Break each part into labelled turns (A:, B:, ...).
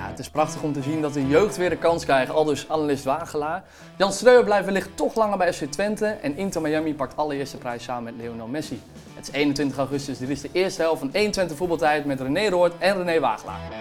A: het is prachtig om te zien dat de jeugd weer een kans krijgt, al dus analist Wagelaar. Jan Streuer blijft wellicht toch langer bij FC Twente en Inter Miami pakt allereerste prijs samen met Lionel Messi. Het is 21 augustus, dit is de eerste helft van 1 Twente voetbaltijd met René Roord en René Wagelaar.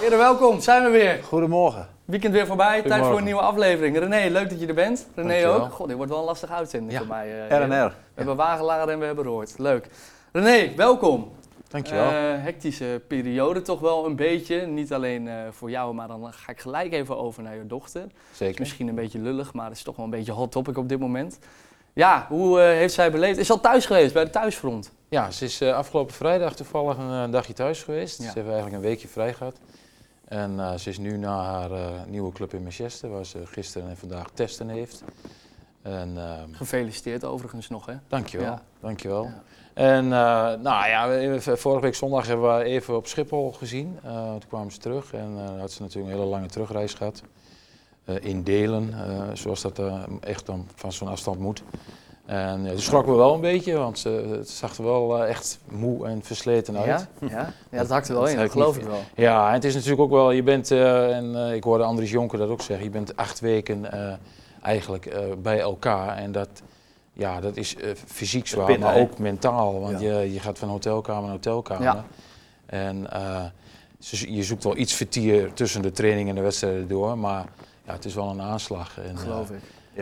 A: Heren, welkom, zijn we weer.
B: Goedemorgen.
A: Weekend weer voorbij, tijd voor een
B: Goedemorgen.
A: nieuwe aflevering. René, leuk dat je er bent. René
B: Dankjewel.
A: ook. God, dit wordt wel een lastige uitzending
B: Ja,
A: voor mij. eh, heren.
B: R&R.
A: We hebben Wagelaar en we hebben Roord. Leuk. René, welkom.
B: Dankjewel.
A: Eh, hectische periode toch wel een beetje. Niet alleen eh, voor jou, maar dan ga ik gelijk even over naar je dochter. Is
B: Zeker.
A: misschien een beetje lullig, maar het is toch wel een beetje hot topic op dit moment. Ja, hoe eh, heeft zij beleefd? Is ze al thuis geweest bij de thuisfront?
C: Ja, ze is eh, afgelopen vrijdag toevallig een eh, dagje thuis geweest.
A: Ja.
C: Ze heeft eigenlijk een weekje vrij gehad. En eh, ze is nu naar haar eh, nieuwe club in Manchester, waar ze gisteren en vandaag testen heeft. En ehm
A: Gefeliciteerd overigens nog, hè?
C: dankjewel,
A: Ja.
C: dankjewel.
A: Ja.
C: En eh, nou ja, we- we- vorige week zondag hebben we haar even op Schiphol gezien. Eh, toen kwamen ze terug en eh, had ze natuurlijk een hele lange terugreis gehad. Eh, in delen, eh, zoals dat eh, echt dan van zo'n afstand moet. En ja, toen schrokken we wel een beetje, want ze het zag er wel eh, echt moe en versleten uit.
A: Ja, ja? ja, dat hakt er wel
C: Nou, Dat
A: in, dat
C: heb ik niet
A: geloof ik wel.
C: Ja, en het is natuurlijk ook wel, je bent, eh, en eh, ik hoorde Andries Jonker dat ook zeggen, je bent acht weken eh, eigenlijk eh, bij elkaar. En dat, ja, dat is eh, fysiek zwaar,
B: pinnen,
C: maar
B: hè?
C: ook mentaal. Want
B: Ja.
C: je, je gaat van hotelkamer naar hotelkamer.
A: Ja.
C: En eh, ze- je zoekt wel iets vertier tussen de training en de wedstrijden door, maar ja, het is wel een aanslag. En, eh,
A: Geloof ik.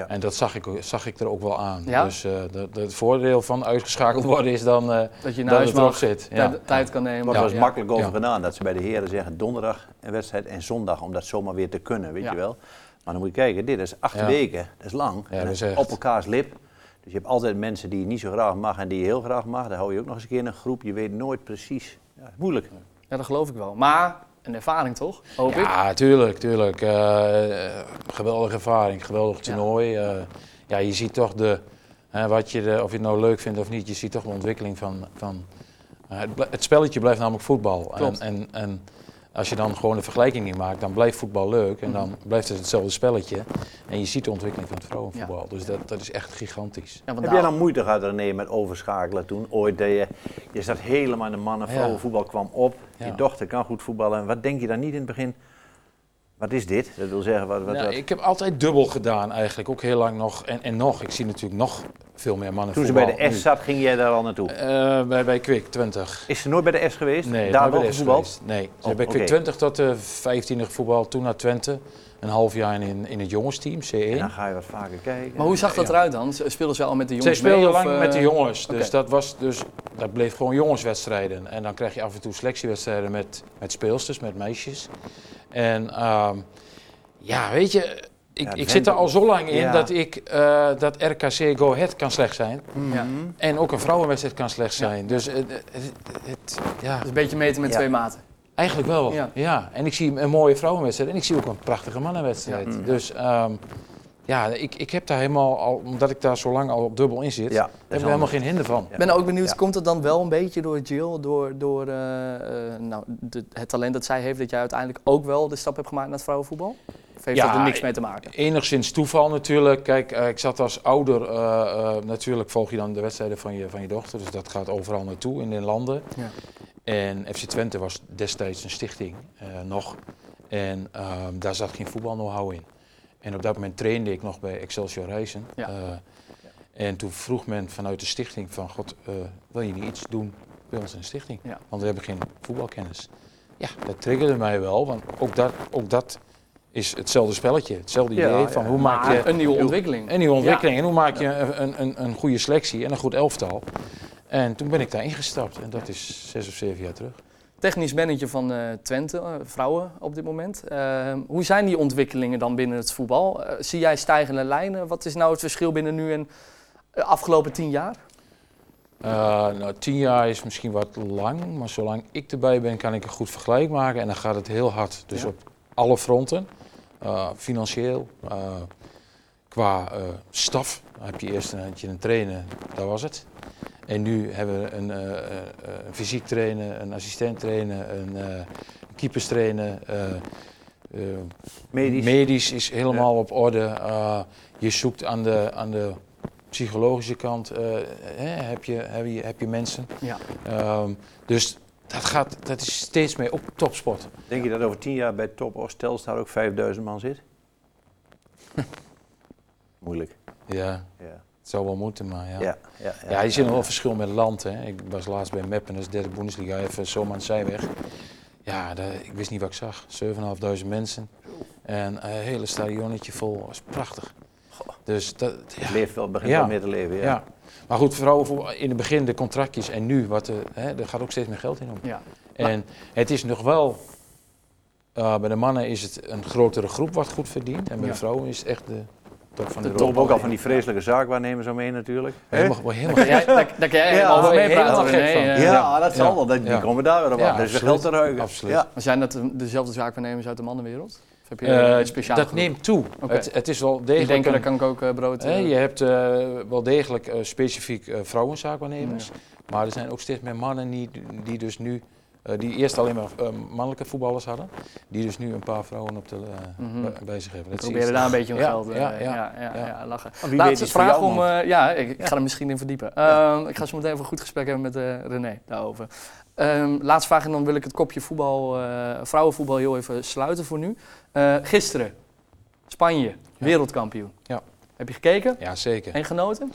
C: en dat zag ik, ook- zag ik er ook wel aan.
A: Ja?
C: Dus eh, dat, dat het voordeel van uitgeschakeld worden is dan eh,
A: Dat je naar
C: dat
A: huis
C: het erop
A: mag,
C: zit.
A: tijd- tijd kan nemen.
B: Maar
C: Ja,
B: er was
A: Ja.
B: makkelijk over
C: Ja.
B: gedaan dat ze bij de heren zeggen donderdag een wedstrijd en zondag om dat zomaar weer te kunnen, weet
A: Ja.
B: je wel. Maar dan moet je kijken, dit is acht
C: Ja.
B: weken, dat is lang.
C: Ja,
B: En
C: dat is echt.
B: Op elkaars lip. Dus je hebt altijd mensen die je niet zo graag mag en die je heel graag mag. Daar hou je ook nog eens een keer in een groep. Je weet nooit precies. Ja, moeilijk.
A: Ja, dat geloof ik wel. Maar een ervaring toch? Hoop ik.
C: Ja, tuurlijk, tuurlijk. Eh, eh, geweldige ervaring, geweldig toernooi. Eh, ja, je ziet toch de, hè, wat je de- of je het nou leuk vindt of niet, je ziet toch de ontwikkeling van. van eh, het, bl- het spelletje blijft namelijk voetbal.
A: Klopt.
C: En, en, en als je dan gewoon de vergelijking niet maakt, dan blijft voetbal leuk en dan blijft het hetzelfde spelletje. En je ziet de ontwikkeling van het vrouwenvoetbal. Dus dat, dat is echt gigantisch.
A: Ja, want
B: Heb
A: daar-
B: jij dan moeite gehad René met overschakelen toen ooit? Dat je, je zat helemaal in de mannen
C: Ja.
B: vrouwen voetbal kwam op. Je
C: Ja.
B: dochter kan goed voetballen. En wat denk je dan niet in het begin? Wat is dit? Dat wil zeggen, wat, wat,
C: Nou,
B: wat-
C: ik heb altijd dubbel gedaan eigenlijk, ook heel lang nog. En, en nog, ik zie natuurlijk nog veel meer mannen
B: Toen ze bij de
C: voetbal
B: S
C: nu.
B: zat, ging jij daar al naartoe?
C: Eh, bij, bij Kwik, 20.
B: Is ze nooit bij de S geweest?
C: Nee,
B: daar
C: nooit
B: wel
C: bij de S
B: gevoetbald?
C: geweest. Nee, ze
B: Oh,
C: hebben
B: oké.
C: ik 20 tot de 15e gevoetbald, toen naar Twente. Een half jaar in, in het jongensteam, C1.
B: En dan ga je wat vaker kijken.
A: Maar hoe zag dat
C: Ja.
A: eruit dan? Z- Speelden ze al met de jongens
C: Zij speelden
A: mee, of,
C: lang
A: eh,
C: met de jongens, dus,
A: oké.
C: dat was, dus dat bleef gewoon jongenswedstrijden. En dan krijg je af en toe selectiewedstrijden met, met speelsters, met meisjes. En ehm, ja, weet je, ik,
B: Ja,
C: ik
B: Twente-
C: zit er al zo lang in
B: Ja.
C: dat, ik, eh, dat RKC Go Ahead kan slecht zijn.
A: Ja.
B: Mm-hmm.
C: En ook een vrouwenwedstrijd kan slecht zijn. Dus het, het, het- ja,
A: Dus een beetje meten met
B: Ja.
A: twee maten.
C: Eigenlijk wel,
A: Ja.
C: ja. En ik zie een mooie vrouwenwedstrijd en ik zie ook een prachtige mannenwedstrijd.
B: Ja. Mm.
C: Dus ehm, ja, ik, ik heb daar helemaal al, omdat ik daar zo lang al op dubbel in zit,
B: Ja, dat is
C: heb ik er helemaal
B: handig.
C: geen hinder van.
A: Ik ben ook benieuwd,
B: Ja.
A: komt dat dan wel een beetje door Jill, door, door eh, eh, nou, de- het talent dat zij heeft, dat jij uiteindelijk ook wel de stap hebt gemaakt naar het vrouwenvoetbal? Of heeft
C: Ja,
A: dat er niks mee te maken?
C: Enigszins toeval natuurlijk. Kijk, eh, ik zat als ouder, eh, eh, natuurlijk volg je dan de wedstrijden van je, van je dochter, dus dat gaat overal naartoe in de landen.
A: Ja.
C: En FC Twente was destijds een stichting, eh, nog. En ehm, daar zat geen voetbal-know-how in. En op dat moment trainde ik nog bij Excelsior Reizen.
A: Ja.
C: Eh, en toen vroeg men vanuit de stichting van, god, eh, wil je niet iets doen bij ons in de stichting?
A: Ja.
C: Want we hebben geen voetbalkennis. Ja, dat triggerde mij wel, want ook dat, ook dat is hetzelfde spelletje. Hetzelfde
B: Ja,
C: idee
B: ja.
C: van, hoe maak je
A: Maar een nieuwe ontwikkeling.
C: een nieuwe ontwikkeling en hoe maak je een, een, een, een goede selectie en een goed elftal? En toen ben ik daar ingestapt en dat is zes of zeven jaar terug.
A: Technisch manager van eh, Twente, eh, vrouwen op dit moment. Eh, hoe zijn die ontwikkelingen dan binnen het voetbal? Eh, zie jij stijgende lijnen? Wat is nou het verschil binnen nu en de afgelopen tien jaar?
C: Eh, nou, tien jaar is misschien wat lang, maar zolang ik erbij ben, kan ik een goed vergelijk maken. En dan gaat het heel hard. Dus
A: Ja.
C: op alle fronten. Eh, financieel, eh, qua eh, staf. Dan heb je eerst een, had je een trainer, dat was het. En nu hebben we een, eh, eh, eh, een fysiek trainer, een assistent trainer, een eh keepers trainer. eh, eh,
B: Medisch.
C: is helemaal op orde. Eh, je zoekt aan de, aan de psychologische kant eh, hè, heb, je, heb, je, heb je mensen.
A: Ja.
C: Ehm, dus dat, gaat, dat is steeds meer op topsport.
B: Denk je dat over tien jaar bij Top of Telstar ook 5000 man zit? Moeilijk.
C: Ja,
B: Ja.
C: het zou wel moeten, maar ja.
B: Ja, ja, ja,
C: Ja, je ziet nog wel verschil met het land. Hè. Ik was laatst bij Meppen, dat is de derde Bundesliga, even zomaar aan de zijweg. Ja, daar- ik wist niet wat ik zag. 7.500 mensen en een hele stadionnetje vol. Dat was prachtig. Dus dat,
B: Het
C: ja.
B: leeft wel, begint
C: Ja.
B: wel meer te leven. Ja.
C: Ja. Maar goed, vooral voor- in het begin de contractjes en nu, wat, de- hè, er gaat ook steeds meer geld in om.
A: Ja.
C: En het is nog wel, eh, bij de mannen is het een grotere groep wat goed verdient. En bij
A: Ja.
C: de vrouwen is het echt de top van
A: De
C: de
B: Top ook al
C: Europa.
B: van die vreselijke zaakwaarnemers omheen natuurlijk.
C: Helemaal, helemaal
A: Daar, jij- daar, daar kan jij helemaal over
C: daar ben je
A: meepraten,
C: helemaal
A: René.
C: gek van.
A: Eh,
B: ja, dat zal
C: ja,
B: wel. Dat,
C: ja.
B: Die komen daar weer op
C: Ja,
B: af. Dus
C: absoluut,
B: geld te ruiken.
C: absoluut.
B: Ja.
A: Maar Zijn dat de- dezelfde zaakwaarnemers uit de mannenwereld? Of heb je
C: Eh,
A: een speciale
C: dat
A: groep?
C: neemt toe.
A: Oké.
C: Het, het is wel
A: Die
C: degelijk.
A: denken,
C: een-
A: daar kan ik ook eh, brood...
C: hè,
A: eh,
C: je hebt eh, wel degelijk eh, specifiek eh, vrouwenzaakwaarnemers. Maar er zijn ook steeds meer mannen die, die dus nu. eh, die eerst alleen maar eh, mannelijke voetballers hadden. Die dus nu een paar vrouwen op de, eh,
A: Mhm.
C: bij- bij zich hebben. Dat zie je
A: Proberen daar een beetje om
C: Ja,
A: geld. eh,
C: ja, ja,
A: ja, ja,
C: ja.
A: ja, lachen.
B: Wie weet
A: Laatste
B: iets voor
A: vraag
B: jou,
A: om.
B: man.
A: eh, ja, ik, ik ga er misschien in verdiepen. Ehm, ik ga zo meteen even een goed gesprek hebben met eh, René daarover. Ehm, laatste vraag en dan wil ik het kopje voetbal, eh, vrouwenvoetbal heel even sluiten voor nu. Eh, gisteren, Spanje, wereldkampioen.
C: Ja.
A: Heb je gekeken
C: Ja, zeker.
A: en genoten?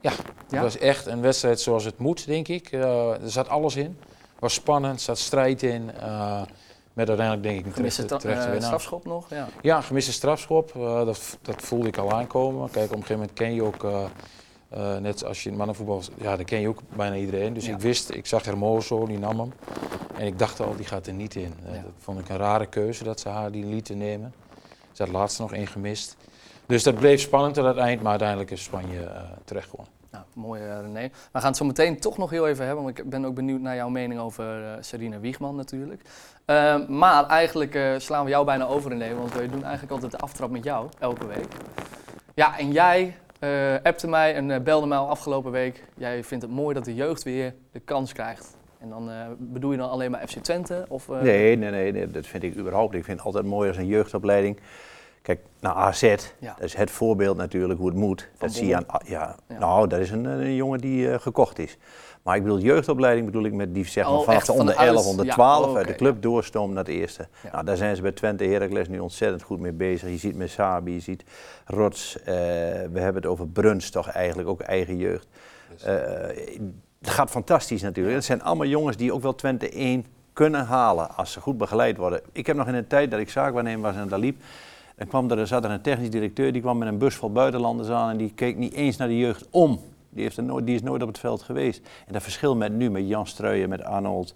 A: Ja?
C: Het was echt een wedstrijd zoals het moet, denk ik. Eh, er zat alles in. was spannend, zat strijd in. eh, met uiteindelijk denk ik een
A: Gemiste
C: terechte,
A: ta-
C: terechte
A: eh,
C: winnaar.
A: strafschop nog? Ja.
C: Ja, gemiste strafschop. eh, dat, dat voelde ik al aankomen. Kijk, op een gegeven moment ken je ook, eh, eh, net als je in het mannenvoetbal, ja, dan ken je ook bijna iedereen. Dus
A: Ja.
C: ik wist, ik zag Hermoso, die nam hem. En ik dacht al, die gaat er niet in. Eh,
A: Ja.
C: Dat vond ik een rare keuze dat ze haar die lieten nemen. Ze had laatst nog één gemist. Dus dat bleef spannend aan het eind, maar uiteindelijk is Spanje eh, terecht gewonnen.
A: Nou, mooi eh, René. We gaan het zo meteen toch nog heel even hebben, want ik ben ook benieuwd naar jouw mening over eh Serena Wiegman natuurlijk. Eh, maar eigenlijk eh, slaan we jou bijna over René, want we doen eigenlijk altijd de aftrap met jou, elke week. Ja, en jij eh appte mij en eh, belde mij al afgelopen week. Jij vindt het mooi dat de jeugd weer de kans krijgt. En dan eh, bedoel je dan alleen maar FC Twente? Of, eh,
B: Nee, nee, nee, nee, dat vind ik überhaupt. niet. Ik vind het altijd mooi als een jeugdopleiding. Kijk, naar AZ,
A: Ja.
B: dat is het voorbeeld natuurlijk hoe het moet. dat zie je aan, ja,
A: Ja.
B: Nou, dat is een, een jongen die eh, gekocht is. Maar ik bedoel, jeugdopleiding bedoel ik met die zeg maar,
A: Oh,
B: vanaf
A: echt
B: de onder
A: vanuit-
B: 11, onder
A: ja,
B: 12
A: oké,
B: uit de club doorstomen naar de eerste.
A: Ja.
B: Nou, daar zijn ze bij Twente Heracles nu ontzettend goed mee bezig. Je ziet Messabi, je ziet Rots, eh, we hebben het over Bruns toch eigenlijk, ook eigen jeugd. Eh, het gaat fantastisch natuurlijk. Het zijn allemaal jongens die ook wel Twente 1 kunnen halen als ze goed begeleid worden. Ik heb nog in een tijd dat ik zaakwaarnemer was en daar liep, dan kwam er, zat er een technisch directeur die kwam met een bus vol buitenlanders aan en die keek niet eens naar de jeugd om. Die, heeft er nooit, die is nooit op het veld geweest. En dat verschil met nu, met Jan Streuer, met Arnold,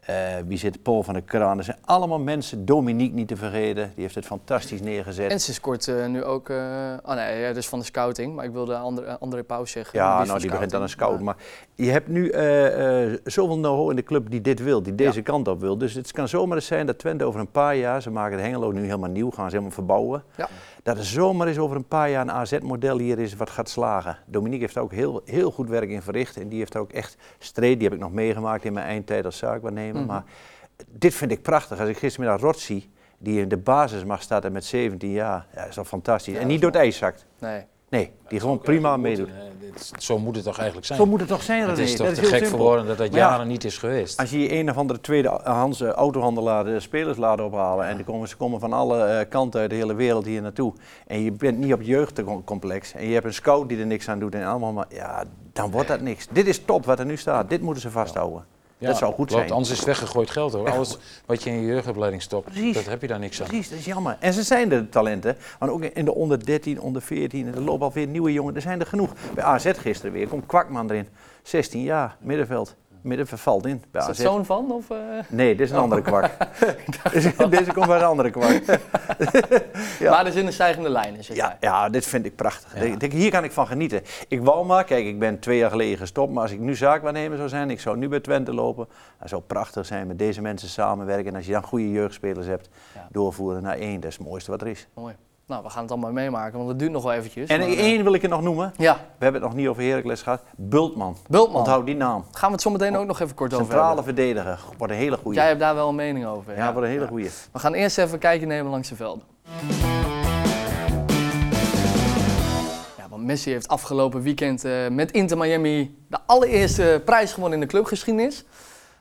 B: eh, wie zit, Paul van der Kraan. Dat zijn allemaal mensen, Dominique niet te vergeten, die heeft het fantastisch neergezet.
A: En sinds kort eh, nu ook, eh, oh nee, ja, dus van de scouting, maar ik wilde André, André Pauws zeggen.
B: Ja,
A: is
B: nou,
A: van
B: die begint dan een
A: scouting.
B: scout. Maar je hebt nu eh, eh, zoveel know-how in de club die dit wil, die deze kant op wil. Dus het kan zomaar eens zijn dat Twente over een paar jaar, ze maken de Hengelo nu helemaal nieuw, gaan ze helemaal verbouwen.
A: Ja.
B: Dat er zomaar eens over een paar jaar een AZ-model hier is wat gaat slagen. Dominique heeft daar ook heel, heel goed werk in verricht. En die heeft daar ook echt streed. Die heb ik nog meegemaakt in mijn eindtijd als zaakwaarnemer.
A: Mhm.
B: Maar dit vind ik prachtig. Als ik gistermiddag Rot zie, die in de basis mag starten met 17 jaar. Ja, dat is toch fantastisch.
A: Ja,
B: en
A: dat
B: niet
A: is
B: door het ijs zakt.
A: Nee.
B: Nee, die gewoon prima meedoet.
C: Zo moet het toch eigenlijk zijn?
B: Zo moet het toch zijn,
C: het
B: René?
C: is toch
B: dat
C: te
B: heel
C: gek
B: simpel.
C: voor woorden dat dat
B: Maar ja,
C: jaren niet is geweest.
B: Als je een of andere tweedehands eh, autohandelaar de spelers laat ophalen... en die komen, ze komen van alle eh, kanten uit de hele wereld hier naartoe... en je bent niet op jeugdcomplex... en je hebt een scout die er niks aan doet en allemaal... Maar, ja, dan wordt dat niks. Dit is top wat er nu staat. Dit moeten ze vasthouden. dat zou goed
C: klopt,
B: zijn.
C: Anders is het weggegooid geld hoor. Alles wat je in je jeugdopleiding stopt,
B: Precies.
C: dat heb je daar niks aan.
B: Precies, dat is jammer. En ze zijn de talenten. Want ook in de onder 13, onder 14, en er lopen alweer nieuwe jongen. Er zijn er genoeg. Bij AZ gisteren weer komt Kwakman erin. 16 jaar, middenveld. Middenveld valt in bij
A: Is dat
B: AZ.
A: zoon van? Of, eh?
B: Nee, dit is een andere kwak. Deze komt bij een andere kwak. Ja.
A: Maar dus in de stijgende lijn is het.
B: Ja, ja, dit vind ik prachtig. Ik denk, hier kan ik van genieten. Ik wou maar, kijk, ik ben twee jaar geleden gestopt, maar als ik nu zaakwaarnemer zou zijn, ik zou nu bij Twente lopen, dat zou prachtig zijn met deze mensen samenwerken. En als je dan goede jeugdspelers hebt,
A: Ja.
B: doorvoeren naar één, dat is het mooiste wat er is.
A: Mooi. Nou, we gaan het allemaal meemaken, want het duurt nog wel eventjes.
B: En
A: maar, eh,
B: één wil ik er nog noemen.
A: Ja,
B: We hebben het nog niet over Heracles gehad. Bultman.
A: Bultman.
B: Onthoud die naam.
A: Gaan we het zo meteen ook nog even kort over
B: Centrale
A: hebben.
B: verdediger. Wordt een hele goede.
A: Jij hebt daar wel een mening over.
B: Ja, wordt een hele
A: Ja.
B: goede.
A: We gaan eerst even kijken nemen langs de velden. Ja, want Messi heeft afgelopen weekend eh, met Inter Miami de allereerste prijs gewonnen in de clubgeschiedenis.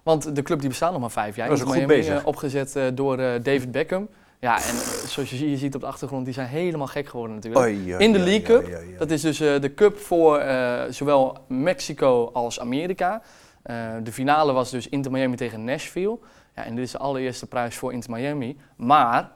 A: Want de club die bestaat nog maar vijf jaar.
B: Dat is
A: Inter
B: goed
A: Miami,
B: bezig.
A: eh, opgezet eh, door eh, David Beckham. Ja, en eh, zoals je, zie- je ziet op de achtergrond, die zijn helemaal gek geworden
B: Oh,
A: natuurlijk. In de League Cup, Dat is dus eh, de cup voor eh, zowel Mexico als Amerika. Eh, de finale was dus Inter Miami tegen Nashville. Ja, en dit is de allereerste prijs voor Inter Miami. Maar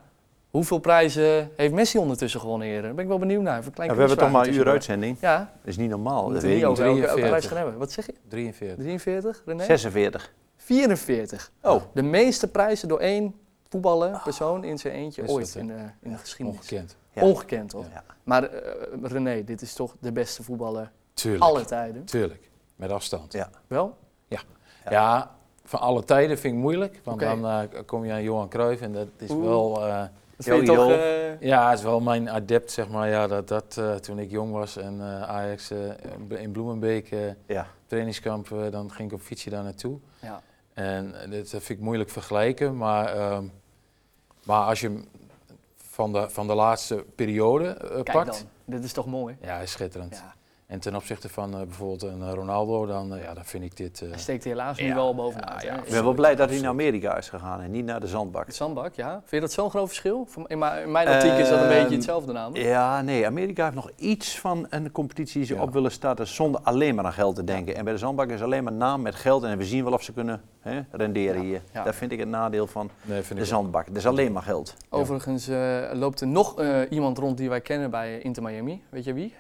A: hoeveel prijzen heeft Messi ondertussen gewonnen, heren? Daar ben ik wel benieuwd naar. Even een klein
B: we hebben toch maar een uur
A: quizvraagje
B: uitzending.
A: tussendoor. Ja,
B: Dat is niet normaal.
A: we
B: Dat
A: moeten
B: weet
A: niet
B: ik niet.
A: over elke- elke
C: 43.
A: prijs gaan hebben. Wat zeg je?
C: 43.
A: 43, René?
B: 46.
A: 44.
B: Oh.
A: De meeste prijzen door één voetballer,
B: Ah.
A: persoon in zijn eentje
C: Is
A: ooit
C: dat, hè?
A: in, de, in de geschiedenis.
C: Ongekend.
B: Ja.
A: Ongekend, toch?
B: Ja.
A: Maar eh, René, dit is toch de beste voetballer
C: Tuurlijk.
A: alle tijden?
C: Tuurlijk. Met afstand.
B: Ja.
A: Wel?
C: Ja. van alle tijden vind ik moeilijk. Want
A: Oké.
C: dan eh, kom je aan Johan Cruijff en dat is
A: Oeh.
C: wel... eh,
A: Dat
B: Yo,
A: vind je toch...
B: yo.
A: eh,
C: Ja, het is wel mijn adept, zeg maar. Ja, dat, dat eh, toen ik jong was en eh, Ajax eh, in Bloemenbeek eh,
B: Ja.
C: trainingskamp, eh, dan ging ik op fietsje daar naartoe.
A: Ja.
C: En eh, dit vind ik moeilijk vergelijken, maar, ehm, maar als je hem van de, van de laatste periode eh,
A: Kijk
C: pakt,
A: dan, dit is toch mooi?
C: ja, hij is schitterend.
A: Ja.
C: En ten opzichte van eh, bijvoorbeeld een eh, Ronaldo, dan, eh, ja, dan vind ik dit... eh,
A: Hij steekt helaas nu
C: Ja,
A: wel bovenuit.
C: ja, ja.
A: hè?
B: Ik ben wel blij dat hij nou naar Amerika is gegaan en niet naar de zandbak.
A: Het Zandbak, ja. Vind je dat zo'n groot verschil? Van- In mijn, in mijn optiek is dat een
B: Ehm,
A: beetje hetzelfde namelijk.
B: Ja, nee, Amerika heeft nog iets van een competitie die ze
C: Ja.
B: op willen starten zonder alleen maar aan geld te denken. En bij de zandbak is alleen maar naam met geld en we zien wel of ze kunnen hè, renderen hier.
A: ja.
B: Daar vind ik het nadeel van
C: nee, vind
B: de
C: ik ook.
B: zandbak. Er is alleen maar geld.
A: Overigens eh, loopt er nog eh, iemand rond die wij kennen bij Inter Miami. Weet je wie?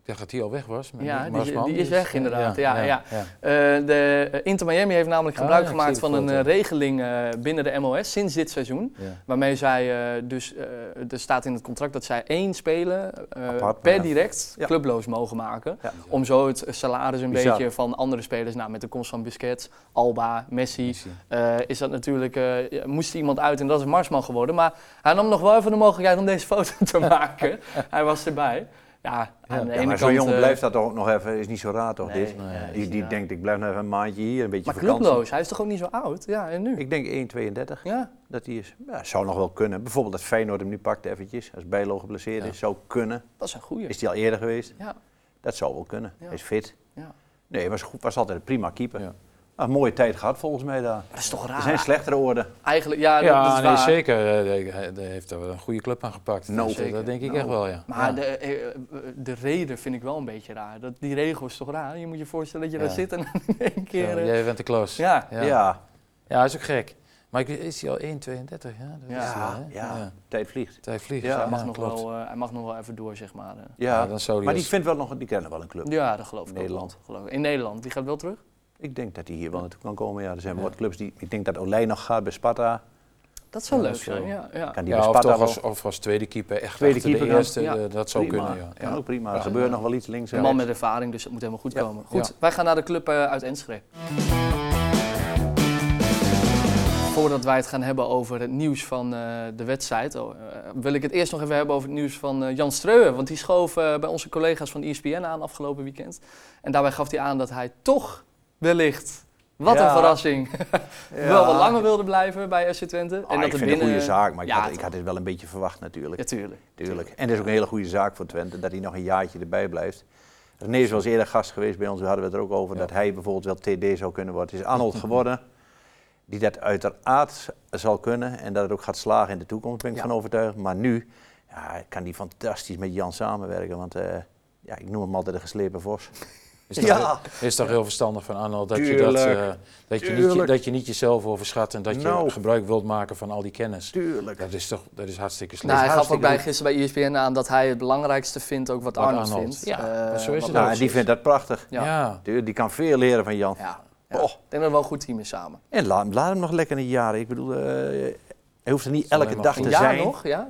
C: Ik dacht dat hij al weg was. met
A: Ja,
C: Nick
A: die-
C: Marsman,
A: die is
C: dus,
A: weg
C: eh,
A: inderdaad. Ja, ja.
C: ja.
A: Eh, de, eh, Inter Miami heeft namelijk
C: Ah,
A: gebruik
C: ja, ik
A: gemaakt
C: zie de
A: van een
C: foto.
A: eh, regeling eh, binnen de MOS sinds dit seizoen.
C: ja.
A: Waarmee zij eh, dus, eh, er staat in het contract dat zij één speler eh,
B: Apart,
A: per
B: ja.
A: direct
B: Ja.
A: clubloos mogen maken.
B: Ja.
A: Om zo het salaris een
B: Bizar.
A: beetje van andere spelers, nou, met de komst van Busquets, Alba, Messi,
C: Precies.
A: eh, is dat natuurlijk, eh, ja, moest iemand uit en dat is Marsman geworden. Maar hij nam nog wel even de mogelijkheid om deze foto te maken. hij was erbij. Ja, aan de
B: Ja,
A: ene
B: maar
A: kant...
B: zo'n jongen
A: eh,
B: blijft dat toch ook nog even, is niet zo raar toch
A: nee,
B: dit?
A: nee,
C: Die-
A: is eh,
B: Die,
A: niet
B: die
A: raar.
B: denkt ik blijf nog even een maandje hier, een beetje
A: Maar
B: vakantie.
A: clubloos, hij is toch ook niet zo oud? Ja, en nu?
B: Ik denk 1, 32
A: Ja,
B: dat die is. Ja, zou nog wel kunnen. Bijvoorbeeld dat Feyenoord hem nu pakt eventjes, als Bijlo geblesseerd
C: Ja.
B: is, zou kunnen.
A: dat is een goeie.
B: Is die al eerder geweest?
A: Ja.
B: Dat zou wel kunnen.
A: Ja.
B: Hij is fit.
A: Ja.
B: Nee, was, goed, was altijd een prima keeper.
C: Ja.
B: Maar Een mooie tijd gehad volgens mij daar.
A: Dat is toch raar?
B: Er zijn slechtere orde.
A: Eigenlijk, ja, dat-
C: Ja,
A: dat is
C: nee,
A: waar.
C: zeker. Eh, Hij hij heeft er wel een goede club aan gepakt.
B: Nou,
C: Dus, eh,
A: zeker.
C: dat denk ik
B: Nou.
C: echt wel, ja.
A: Maar
C: Ja.
A: de, eh, eh, de reden vind ik wel een beetje raar. Dat, die regel is toch raar? Je moet je voorstellen dat je daar
C: Ja.
A: zit en in één keer...
C: Ja,
A: eh,
C: jij bent de klas.
A: ja.
B: Ja.
C: Ja. ja. hij is ook gek. Maar ik- is hij al 1,32? Ja, dat
A: Ja,
C: is hij, hè?
B: ja. tijd vliegt.
C: Tijd vliegt.
B: Ja,
A: hij, mag nog
C: klopt.
A: wel, eh, hij mag nog wel even door, zeg maar. eh.
B: Ja,
C: Ja, dan zou die
B: maar die,
C: als-
B: vindt wel nog, die kennen wel een club.
A: Ja, dat geloof ik ook
B: Nederland.
A: wel. Geloof ik. In Nederland, die gaat wel terug.
B: Ik denk dat hij hier wel naartoe kan komen. Ja, er zijn wel
C: Ja.
B: wat clubs die. Ik denk dat Olij nog gaat bij Sparta.
A: Dat zou
C: Ja,
A: leuk
C: dat zou-
A: zijn, ja. ja.
B: Kan die
C: Ja,
B: bij
C: of,
B: Sparta
C: toch
B: wel?
C: als, of als tweede keeper. Echt
B: Tweede
C: tweede
B: keeper
C: keeper de
B: kan-
C: eerste,
A: ja.
C: eh, dat zou
B: Prima.
C: kunnen, ja.
B: Kan
C: ja.
B: ook prima. Er
A: Ja.
B: gebeurt nog wel iets links.
A: Een
B: en
A: man met
B: rechts.
A: ervaring, dus dat moet helemaal goed
B: Ja.
A: komen. Goed, wij gaan naar de club eh, uit Enschede. Voordat wij het gaan hebben over het nieuws van eh, de wedstrijd, oh, eh, wil ik het eerst nog even hebben over het nieuws van eh, Jan Streuer. Want die schoof eh, bij onze collega's van ESPN aan afgelopen weekend. En daarbij gaf hij aan dat hij toch wellicht, wat
B: Ja.
A: een verrassing,
B: Ja.
A: wel wat langer wilde blijven bij SC Twente.
B: Ah, ik
A: het
B: vind het een goede zaak, maar ik,
A: Ja,
B: had, ik
A: toch.
B: had dit wel een beetje verwacht natuurlijk.
A: Ja, tuurlijk.
B: Tuurlijk. En dat is ook een hele goede zaak voor Twente, dat hij nog een jaartje erbij blijft. René is wel eens eerder gast geweest bij ons, we hadden het er ook over,
C: Ja.
B: dat hij bijvoorbeeld wel TD zou kunnen worden. Het is Arnold geworden, die dat uiteraard zal kunnen en dat het ook gaat slagen in de toekomst, ben ik
A: Ja.
B: van overtuigd. Maar nu ja, kan hij fantastisch met Jan samenwerken, want eh, ja, ik noem hem altijd de geslepen vos.
C: Is toch,
B: Ja.
C: is toch heel verstandig van Arnold dat, je dat,
B: Tuurlijk.
C: eh, dat, je niet, je-
B: Tuurlijk.
C: dat je niet jezelf overschat en dat
B: Nou.
C: je gebruik wilt maken van al die kennis.
B: Tuurlijk.
C: Dat is toch dat is hartstikke slecht.
A: Nou, hij gaf ook
B: hartstikke
A: bij, gisteren bij E ESPN aan dat hij het belangrijkste vindt, ook wat,
C: Wat
A: Arnold,
C: Arnold.
A: vindt. Eh,
C: Ja, zo is
A: wat
C: het
A: Arnold
B: Nou, en die vindt dat prachtig.
A: Ja.
C: ja.
A: Ja.
B: Tuurlijk, Die kan veel leren van Jan.
A: Ja. Oh.
B: Och.
A: Ik denk dat we wel een goed team is samen.
B: En laat, laat hem nog lekker een jaar. Ik bedoel, eh, hij hoeft er niet
C: Zal
B: elke
C: hij maar
B: dag
C: goed
B: te
A: Een
C: Er
A: jaar
B: zijn.
A: nog, ja?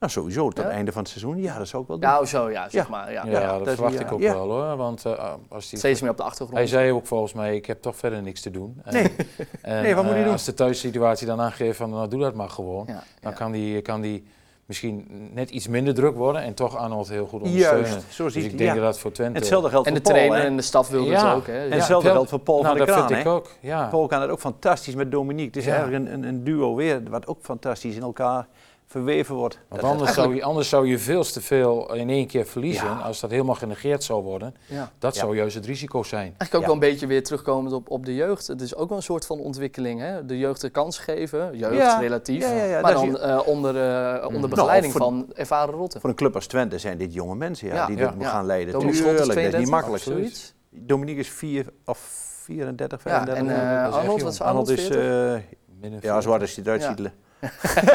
B: Nou, sowieso, tot
A: Ja? Nou,
B: het einde van het seizoen. Ja, dat zou ik wel doen.
A: Ja, of zo, ja, zeg
B: Ja.
A: maar. Ja.
C: Ja,
B: Ja,
C: dat,
B: dat-
C: verwacht
B: ja.
C: ik ook
B: Ja.
C: wel hoor. Want eh, als die,
A: Steeds meer op de achtergrond.
C: hij zei ook volgens mij, ik heb toch verder niks te doen. En-
B: Nee.
C: en,
B: Nee, wat moet
C: eh,
B: hij doen?
C: Als de thuissituatie dan aangeeft van, nou doe dat maar gewoon.
A: ja,
C: Dan
A: ja.
C: kan die, kan die misschien net iets minder druk worden en toch Arnold heel goed ondersteunen.
B: Juist, zo
C: Dus
B: ziet
C: ik
B: hij-
C: denk
B: ja.
C: dat dat voor Twente...
B: Hetzelfde geldt
A: En de
B: voor Paul.
A: trainer
B: hè.
A: en de staf wilden het
C: Ja.
A: ook, hè?
B: En
A: Ja.
B: hetzelfde
C: Wel-
B: geldt voor Paul
C: nou,
B: van de
C: dat
B: Kraan.
C: vind ik
B: hè.
C: ook, ja.
B: Paul kan het ook fantastisch met Dominique. Het is
C: Ja.
B: eigenlijk een, een, een duo weer, wat ook fantastisch in elkaar verweven wordt.
C: Want
B: Dat-
C: anders, zou je, anders zou je veel te veel in één keer verliezen.
B: Ja.
C: Als dat helemaal genegeerd zou worden,
A: Ja.
C: dat
B: Ja.
C: zou juist het risico zijn.
A: Eigenlijk ook
B: Ja.
A: wel een beetje weer terugkomend op, op de jeugd. Het is ook wel een soort van ontwikkeling. Hè? De jeugd de kans geven, jeugd
B: Ja.
A: relatief.
B: Ja, ja, ja,
A: maar
B: dat
A: dan
B: is-
A: eh, onder, eh, onder
C: Nou,
A: begeleiding
B: Mm. voor-
A: van ervaren rotten.
B: Voor een club als Twente zijn dit jonge mensen ja,
A: Ja,
B: die
C: ja,
B: dit
A: ja.
B: gaan leiden.
A: Dominique Schot
B: Tuurlijk, dat is
A: 32,
B: niet makkelijk.
A: Zoiets.
B: Dominique is 4 of 34,
A: Ja, en
B: 35.
A: eh,
C: echt
A: Arnold,
C: jong.
A: wat is Arnold?
B: Arnold is,
A: 40?
B: eh,
C: Midden
B: ja, zwart als hij eruit
A: Ja.
B: ziet.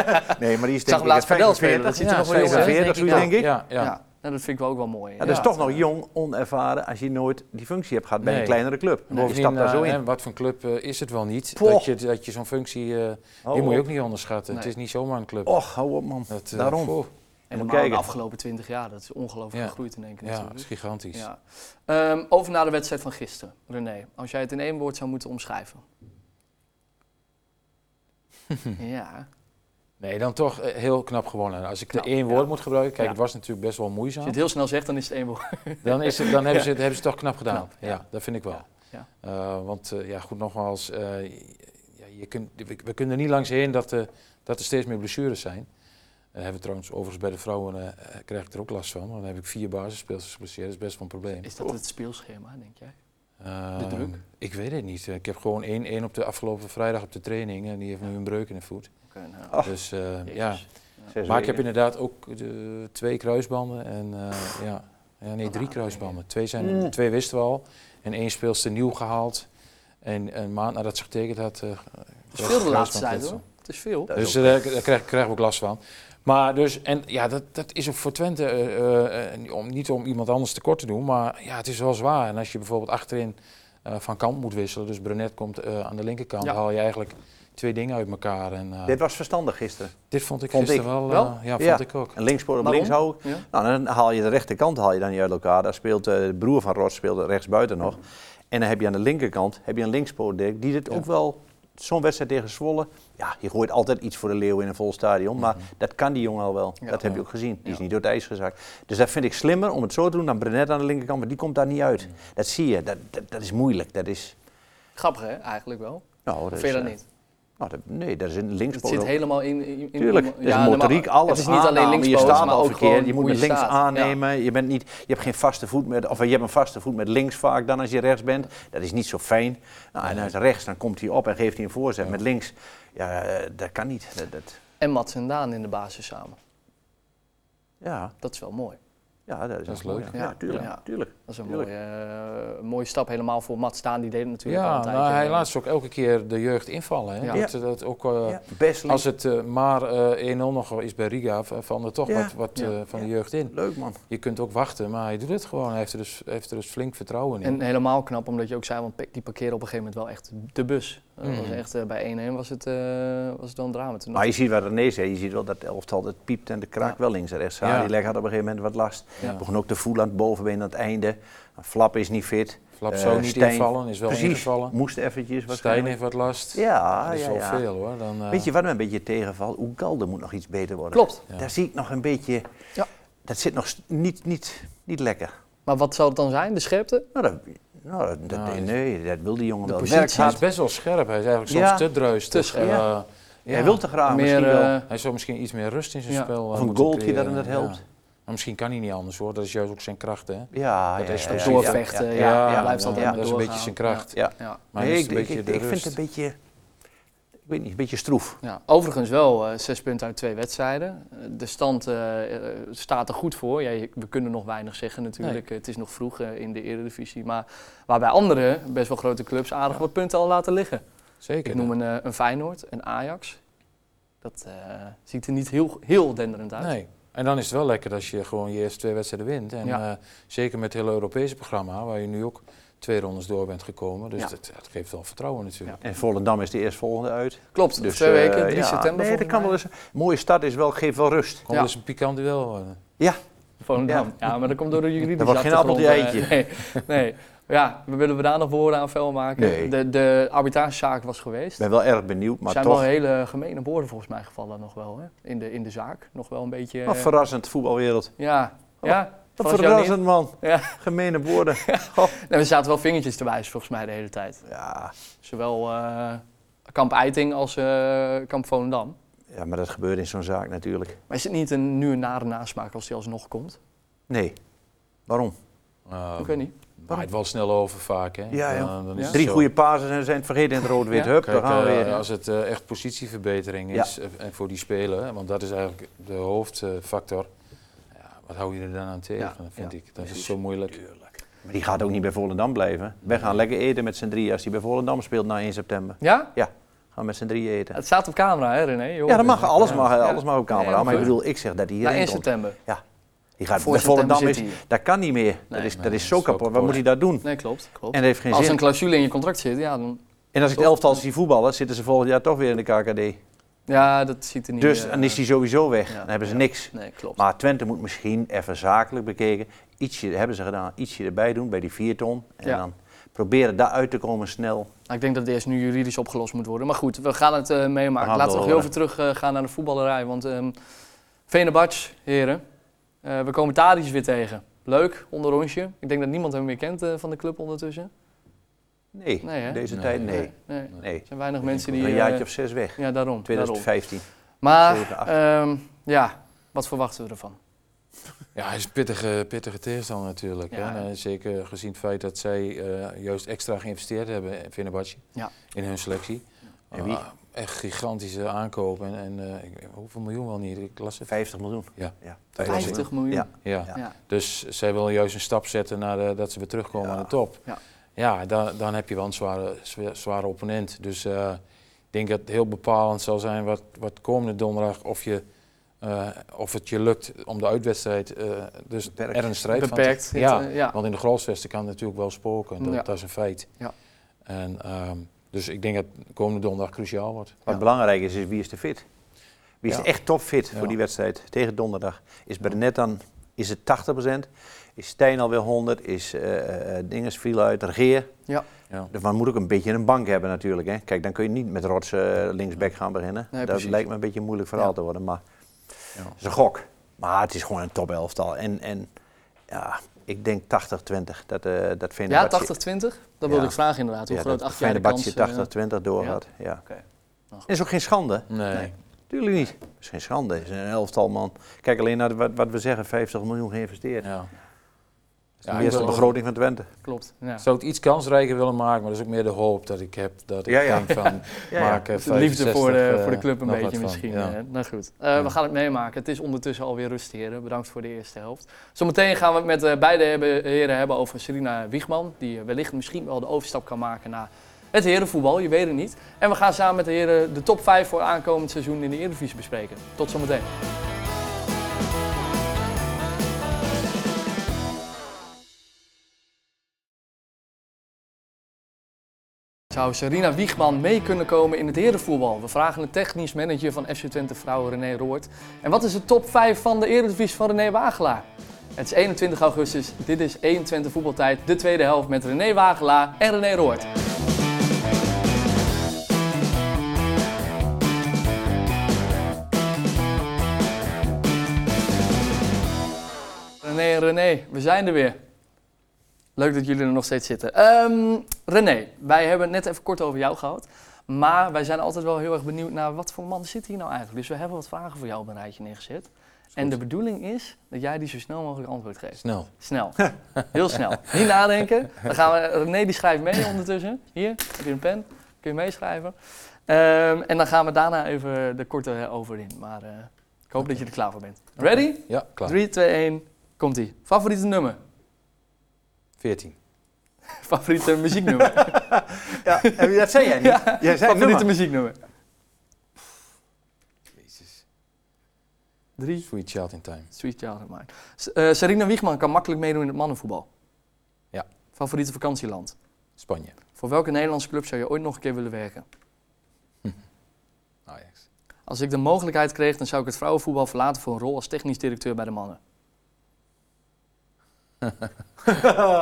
B: nee, maar die is
A: Ik zag hem laatst
B: denk ik
A: padel
B: 45.
A: spelen, dat ziet er
C: Ja,
A: nog wel jong uit.
B: 45, zoiets,
A: Ja.
B: denk ik.
C: Ja, ja.
A: Ja. Nou, dat vind ik wel ook wel mooi.
B: Ja,
A: Ja,
B: dat is
C: Ja.
B: toch nog jong, onervaren als je nooit die functie hebt gehad bij een
C: Nee.
B: kleinere club.
C: En
B: je
C: bovendien,
B: stapt daar zo
C: eh,
B: in.
C: hè, wat voor club eh, is het wel niet?
B: Poh. Oh,
C: Dat je, dat je zo'n functie, eh,
B: Hou
C: die moet je
B: op.
C: ook niet onderschatten. Het
A: Nee.
C: is niet zomaar een club.
B: Och, hou op man.
C: Dat, eh,
B: Oh. Daarom.
C: goh,
A: En
B: Moet
A: dan
B: kijken.
A: de afgelopen 20 jaar, dat is ongelooflijk
C: Ja.
A: gegroeid in één keer
C: ja, dat is
A: natuurlijk.
C: gigantisch.
A: Ja. Ehm, over naar de wedstrijd van gisteren, René. Als jij het in één woord zou moeten omschrijven. ja.
C: Nee, dan toch eh, heel knap gewonnen. Als ik de
A: Knap,
C: één
A: Nou, ja.
C: woord moet gebruiken, kijk,
A: Ja.
C: het was natuurlijk best wel
A: Als
C: moeizaam.
A: je het heel snel zegt, dan is het één woord.
C: Dan, is het, dan hebben, ze, het- hebben ze het toch knap gedaan.
A: Knap, ja.
C: ja. dat vind ik wel.
A: Ja, ja.
C: Eh, want eh, ja, goed, nogmaals, eh, ja, je kunt, we, we kunnen er niet langs heen dat, eh, dat er steeds meer blessures zijn. Daar hebben we trouwens overigens bij de vrouwen, eh, eh, krijg ik er ook last van. Want dan heb ik vier basisspeelsters geblesseerd, dat is best wel een probleem.
A: Is dat het speelschema, denk jij?
C: Ehm,
A: druk?
C: Ik weet het niet. Ik heb gewoon één, één op de afgelopen vrijdag op de training en die heeft nu een breuk in de voet.
A: Oké, nou,
B: Ach,
C: Dus eh,
A: jezus.
C: ja.
B: Zes
C: Maar ik heb
B: weken.
C: inderdaad ook de, twee kruisbanden en eh, ja. ja, nee, drie kruisbanden. Twee, zijn,
B: Mm.
C: twee wisten we al en één speelster nieuw gehaald. En een maand nadat ze getekend had... eh,
A: Het is veel de laatste
C: kruisband-
A: tijd hoor. Het is veel.
B: Dat is
C: Dus
B: ook-
C: eh, daar krijg, krijgen we ook last van. Maar dus, en ja, dat, dat is ook voor Twente, eh, eh, eh, om, niet om iemand anders tekort te doen, maar ja, het is wel zwaar. En als je bijvoorbeeld achterin eh, van kant moet wisselen, dus Brunet komt eh, aan de linkerkant,
A: Ja.
C: haal je eigenlijk twee dingen uit elkaar. En, eh,
B: Dit
C: dit,
B: was verstandig gisteren.
C: vond ik
B: vond
C: gisteren wel, eh,
A: Wel?
C: ja, vond
B: Ja.
C: ik ook.
B: Een linkspoor op
A: Waarom?
B: links houden.
A: Ja.
B: Nou, dan haal je de rechterkant haal je dan niet uit elkaar. Daar speelt eh, de broer van Rots speelt rechtsbuiten nog. En dan heb je aan de linkerkant heb je een linkspoor Dirk, die dit
C: Ja.
B: ook wel. Zo'n wedstrijd tegen Zwolle, ja, je gooit altijd iets voor de leeuw in een vol stadion. Maar dat kan die jongen al wel.
A: Mhm. Ja.
B: dat heb je
C: Ja.
B: ook gezien. Die is
A: Ja.
B: niet door het ijs gezakt. Dus dat vind ik slimmer om het zo te doen dan Brenet aan de linkerkant. Want die komt daar niet uit.
A: Mhm.
B: Dat zie je. Dat, dat, dat is moeilijk. Dat is...
A: Grappig hè, eigenlijk wel.
B: Nou, dat
A: Of
B: is,
A: vind je dat
B: eh,
A: niet?
B: nou, dat- nee, dat is een
A: Het
B: linkspoor.
A: zit
B: ook.
A: helemaal in... in, in
B: Tuurlijk,
A: in-
B: het is
A: nee, maar
B: motoriek, alles
A: Het is niet alleen
B: aannemen.
A: links
B: Je staat
A: maar
B: al
A: ook
B: verkeerd,
A: gewoon
B: je moet
A: hoe
B: met links
A: staat. Ja.
B: aannemen. Je, bent niet, je hebt geen vaste voet met, of je hebt een vaste voet met links vaak dan als je rechts bent. Dat is niet zo fijn. Nou, en uit rechts, dan komt hij op en geeft hij een voorzet. Met links, ja, eh, dat kan niet. Dat, dat-
A: En Mats en Daan in de basis samen.
B: ja,
A: Dat is wel mooi.
B: ja, dat is,
C: Dat is
B: mooi.
C: leuk.
B: Ja,
A: Ja,
B: tuurlijk,
A: ja.
B: tuurlijk.
A: Dat is een
B: Tuurlijk.
A: mooie, eh, een mooie stap helemaal voor Mats Daan. Die deed het natuurlijk al
C: Ja,
A: een tijdje.
C: nou, hij laat ze ook elke keer de jeugd invallen. Hè?
A: Ja.
C: Dat, dat ook, eh,
B: Ja, Best
C: Als het eh, maar eh 1-0 nog wel is bij Riga, v- vallen er toch
B: Ja.
C: wat, wat
A: Ja.
C: eh, van de
B: Ja.
C: jeugd in.
B: leuk man.
C: Je kunt ook wachten, maar hij doet het gewoon. Hij heeft er dus, heeft er dus flink vertrouwen in.
A: En helemaal knap, omdat je ook zei, want Peck, die parkeerde op een gegeven moment wel echt de bus. Dat was
C: Mhm.
A: echt, eh, bij 1-1 was het, eh was het wel een drama. Toen
B: Maar je ziet wat René zei, je ziet wel dat het elftal het piept en de kraak
A: Ja.
B: wel links en rechts.
C: Ja.
B: Ja. Die leg had op een gegeven moment wat last.
C: ja.
B: Begon ook te voelen aan het bovenbeen aan het einde. Flap is niet fit.
C: Flap
B: eh,
C: zou niet
B: Stijn-
C: invallen, is wel
B: Precies,
C: ingevallen.
B: moest eventjes
C: Stijn
B: waarschijnlijk.
C: heeft wat last.
B: Ja,
C: dat is
B: ja,
C: wel
B: ja.
C: veel hoor. Dan, eh,
B: Weet je wat me een beetje tegenvalt? Oegalde moet nog iets beter worden.
A: Klopt.
C: Ja.
B: Daar zie ik nog een beetje...
A: Ja.
B: Dat zit nog st- niet, niet, niet lekker.
A: Maar wat zou het dan zijn? De scherpte?
B: Nou, dat, nou, dat- dat-
C: Nou,
B: nee, dat wil die jongen
A: de
B: wel.
A: positie
B: Werkt
C: hij
B: hard.
C: is best wel scherp. Hij is eigenlijk soms
B: Ja.
C: te dreus.
A: Te
C: eh,
A: scherp.
B: Ja.
C: ja. oh,
B: Hij wil te graag
A: Meer,
B: misschien wel.
A: eh,
C: Hij zou misschien iets meer rust in zijn
A: Ja.
C: spel. eh,
B: Of een
C: moeten
B: goaltje dat hem
C: creëren,
B: dat
C: eh, ja.
B: helpt.
C: Maar misschien kan hij niet anders hoor. Dat is juist ook zijn kracht. Hè?
B: Ja,
C: dat
B: ja,
C: is
B: ja,
C: ook
B: ja,
A: doorvechten, ja.
B: ja.
A: hij blijft altijd maar
C: Dat is een beetje zijn
A: doorgaan.
C: kracht.
B: Ja.
A: Ja.
C: Maar
B: Nee,
C: hij
B: ik,
C: mist een
B: ik,
C: beetje
B: ik,
C: de
B: ik vind het
C: rust.
B: een beetje... Ik weet niet, een beetje stroef.
A: Ja, overigens wel eh, zes punten uit twee wedstrijden. Eh, De stand eh, eh, staat er goed voor. Ja, je- we kunnen nog weinig zeggen natuurlijk. Eh, Het is nog vroeg eh, in de Eredivisie. Maar waarbij andere, best wel grote clubs, aardig wat punten al laten liggen.
C: Zeker.
A: Ik noem een, eh, een Feyenoord, een Ajax. Dat eh, ziet er niet heel, heel denderend uit.
C: Nee. En dan is het wel lekker als je gewoon je eerste twee wedstrijden wint. En
A: Ja.
C: eh, zeker met het hele Europese programma, waar je nu ook twee rondes door bent gekomen. Dus
A: Ja.
C: dat, dat geeft wel vertrouwen natuurlijk.
B: En Volendam is de eerstvolgende uit.
A: Klopt,
B: Dus,
A: twee
B: eh,
A: weken, 3
B: ja.
A: september
B: Nee, dat kan wel eens. Mooie start is wel, geeft wel rust.
C: Kon
A: Ja.
C: dus een pikant duel worden.
B: Ja,
A: Volendam. Ja. maar dat komt door de juridische
B: Dat wordt geen
A: achtergrond,
B: appeltje
A: eh, nee, nee. Ja, we willen we daar nog woorden aan vuil maken?
B: Nee.
A: De, de arbitragezaak was geweest.
B: ik ben wel erg benieuwd, maar
A: Er zijn
B: toch...
A: wel hele gemene woorden volgens mij gevallen nog wel, hè? In de, in de zaak. Nog wel een beetje... eh,
B: Nou, verrassend, voetbalwereld.
A: ja,
B: Oh,
A: ja.
B: Wat
A: verrast jou niet?
B: verrassend, man.
A: Ja.
B: Gemene woorden.
A: Nee, we zaten wel vingertjes te wijzen volgens mij de hele tijd.
B: Ja,
A: Zowel eh, kamp Eiting als eh, kamp Volendam.
B: Ja, maar dat gebeurt in zo'n zaak natuurlijk.
A: Maar is het niet een, nu een nare nasmaak als die alsnog komt?
B: Nee. Waarom?
C: Ehm,
A: ik weet niet.
C: Maar het wel snel over vaak. Hè?
B: Ja, ja.
C: Dan- dan is
A: Ja.
C: het
B: Drie
C: zo.
B: goede pases en we zijn het vergeten in het rood-wit.
A: Ja.
B: Hup,
C: Kijk,
B: daar gaan we
C: eh,
B: weer.
C: als het eh, echt positieverbetering
B: Ja.
C: is eh, en voor die speler, hè, want dat is eigenlijk de hoofdfactor. Ja, wat hou je er dan aan tegen,
B: Ja,
C: vind
B: ja.
C: ik. Dat is zo moeilijk.
B: Maar die gaat ook niet bij Volendam blijven. Wij gaan lekker eten met z'n drieën als die bij Volendam speelt na 1 september.
A: Ja?
B: Gaan we met z'n drieën eten.
A: Het staat op camera, hè René? Je hoort
B: Ja, dat
A: het.
B: mag. Alles
A: Ja.
B: mag,
A: Ja.
B: alles mag op camera.
A: Ja, Nou, ja,
B: maar ik
A: goed.
B: bedoel, ik zeg dat hij
A: Na 1
B: hierin komt.
A: september.
B: Die gaat,
A: Voor
B: bij
A: september
B: Volendam
A: zit
B: is,
A: hij hier.
B: dat kan niet meer.
A: Nee,
B: dat is,
C: nee,
B: dat is zo kapot. Wat moet hij daar doen?
A: Nee, klopt. klopt.
B: En dat heeft geen
A: Maar als er
B: zin.
A: een clausule in je contract zit, ja, dan,
B: En als ik
A: Oh.
B: het elftal zie voetballen, zitten ze volgend jaar toch weer in de KKD.
A: ja dat ziet er niet
B: Dus
A: eh,
B: dan is hij sowieso weg.
A: ja,
B: Dan hebben ze
A: ja.
B: niks.
A: Nee, klopt.
B: Maar Twente moet misschien even zakelijk bekeken. Ietsje hebben ze gedaan, ietsje erbij doen bij die 4 ton. En
A: Ja.
B: dan proberen daaruit te komen snel.
A: Nou, ik denk dat deze nu juridisch opgelost moet worden. Maar goed, we gaan het eh, meemaken.
B: gaan
A: Laten we nog heel
B: door,
A: even terug eh, gaan naar de voetballerij. Want ehm Venerbahce, heren, eh, we komen Tadic weer tegen. Leuk, onder onsje. Ik denk dat niemand hem meer kent eh, van de club ondertussen.
B: Nee,
A: Nee, hè?
B: deze
C: Nee.
B: tijd nee.
A: nee.
B: nee.
A: Er zijn weinig
C: Ik
A: mensen
C: denk
A: die...
C: ook
B: een
A: eh,
B: jaartje of zes weg.
A: ja, daarom. daarom.
B: 2015.
A: Maar,
B: Zeven, acht.
A: ehm, ja, wat verwachten we ervan?
C: Ja, hij is een pittige, pittige tegenstander natuurlijk.
A: Ja.
C: Hè? En, eh, zeker gezien het feit dat zij eh, juist extra geïnvesteerd hebben in Fenerbahce,
A: Ja.
C: in hun selectie.
B: En wie?
C: Ah, echt gigantische aankopen. En, en eh, ik- hoeveel miljoen wel niet? Ik las het.
B: 50 miljoen.
C: Ja.
B: ja.
A: 50 miljoen.
B: Ja.
C: Ja.
A: Ja.
C: Dus zij willen juist een stap zetten naar de- dat ze weer terugkomen
B: Ja.
C: aan de top.
A: Ja.
C: Ja, dan, dan heb je wel een zware, zwa- zware opponent. Dus eh, ik denk dat het heel bepalend zal zijn wat, wat komende donderdag of, je, eh, of het je lukt om de uitwedstrijd eh, dus
B: Beperkt.
C: er een strijd van
A: Beperkt.
C: te ja,
A: eh, ja.
C: Want in de grootstvesten kan het natuurlijk wel spoken. Dat,
A: Ja.
C: dat is een feit.
A: Ja.
C: En, ehm, dus ik denk dat komende donderdag cruciaal wordt.
B: Wat
A: Ja.
B: belangrijk is, is wie is te fit. Wie is
C: Ja.
B: echt topfit
C: Ja.
B: voor die wedstrijd tegen donderdag? Is Bernet dan is het 80%? Is Stijn alweer 100? Is eh, eh, Dinges viel uit, Regeer?
C: Ja.
B: Dus man moet ook een beetje een bank hebben natuurlijk. Hè? Kijk, dan kun je niet met rots eh, linksback gaan beginnen.
A: Nee,
B: dat
A: precies.
B: lijkt me een beetje een moeilijk verhaal
A: Ja.
B: te worden. Maar
C: Ja.
B: het is een gok. Maar het is gewoon een top elftal. En, en ja, ik denk 80-20. Dat, eh dat vind
A: Ja, 80-20? Dat wilde
B: Ja.
A: ik vragen inderdaad. Hoe groot acht jaar de
B: Fijne
A: kans...
B: badje
A: eh,
B: 80-20 door
A: ja?
B: had. Ja.
A: Oké. Nou, goed.
B: Is ook geen schande.
C: Nee.
A: Nee.
B: Tuurlijk niet. Dat is geen schande. Het is een elftal man. Kijk alleen naar wat, wat we zeggen. 50 miljoen geïnvesteerd.
C: Ja.
B: Dat
C: Ja,
B: is de eerste
C: ik-
B: begroting van Twente.
A: Klopt. Ja.
C: Ik zou het iets kansrijker willen maken, maar dat is ook meer de hoop dat ik heb. Dat ik
B: Ja, ja.
C: denk van,
B: Ja, ja.
C: maak er
A: De liefde voor de,
C: 65,
A: voor de club een
C: nog wat
A: beetje
C: van.
A: misschien.
C: Ja.
A: eh, nou goed, Eh, we
C: Ja.
A: gaan het meemaken. Het is ondertussen alweer rust, heren. Bedankt voor de eerste helft. Zometeen gaan we het met eh, beide hebben- heren hebben over Serena Wiegman. Die eh, wellicht misschien wel de overstap kan maken naar het herenvoetbal. Je weet het niet. En we gaan samen met de heren de top 5 voor aankomend seizoen in de Eredivisie bespreken. Tot zometeen. Zou Serena Wiegman mee kunnen komen in het herenvoetbal? We vragen de technisch manager van FC Twente Vrouwen René Roord. En wat is de top 5 van de Eredivisie van René Wagelaar? Het is 21 augustus, dit is 21 voetbaltijd, de tweede helft met René Wagelaar en René Roord. René, René, we zijn er weer. Leuk dat jullie er nog steeds zitten. Ehm, René, wij hebben het net even kort over jou gehad. Maar wij zijn altijd wel heel erg benieuwd naar wat voor man zit hier nou eigenlijk. Dus we hebben wat vragen voor jou op een rijtje neergezet. En de bedoeling is dat jij die zo snel mogelijk antwoord geeft.
C: Snel.
A: Snel. Heel snel. Niet nadenken. Dan gaan we, René die schrijft mee ondertussen. Hier, heb je een pen. Kun je meeschrijven. Ehm, en dan gaan we daarna even de korte eh, over in. Maar eh, ik hoop dat je er klaar voor bent. Ready?
C: Ja, klaar.
A: 3, 2, 1. Komt ie. Favoriete nummer?
C: 14.
A: Favoriete muzieknummer?
B: Ja, dat zei jij niet.
A: Ja,
B: Jij zei
A: Favoriete
B: nummer.
A: muzieknummer?
C: Jezus.
A: 3.
C: Sweet Child in Time.
A: Sweet Child of Mine. S- eh, Sarina Wiegman kan makkelijk meedoen in het mannenvoetbal.
C: Ja.
A: Favoriete vakantieland?
C: Spanje.
A: Voor welke Nederlandse club zou je ooit nog een keer willen werken?
C: Ajax.
A: Als ik de mogelijkheid kreeg, dan zou ik het vrouwenvoetbal verlaten voor een rol als technisch directeur bij de mannen.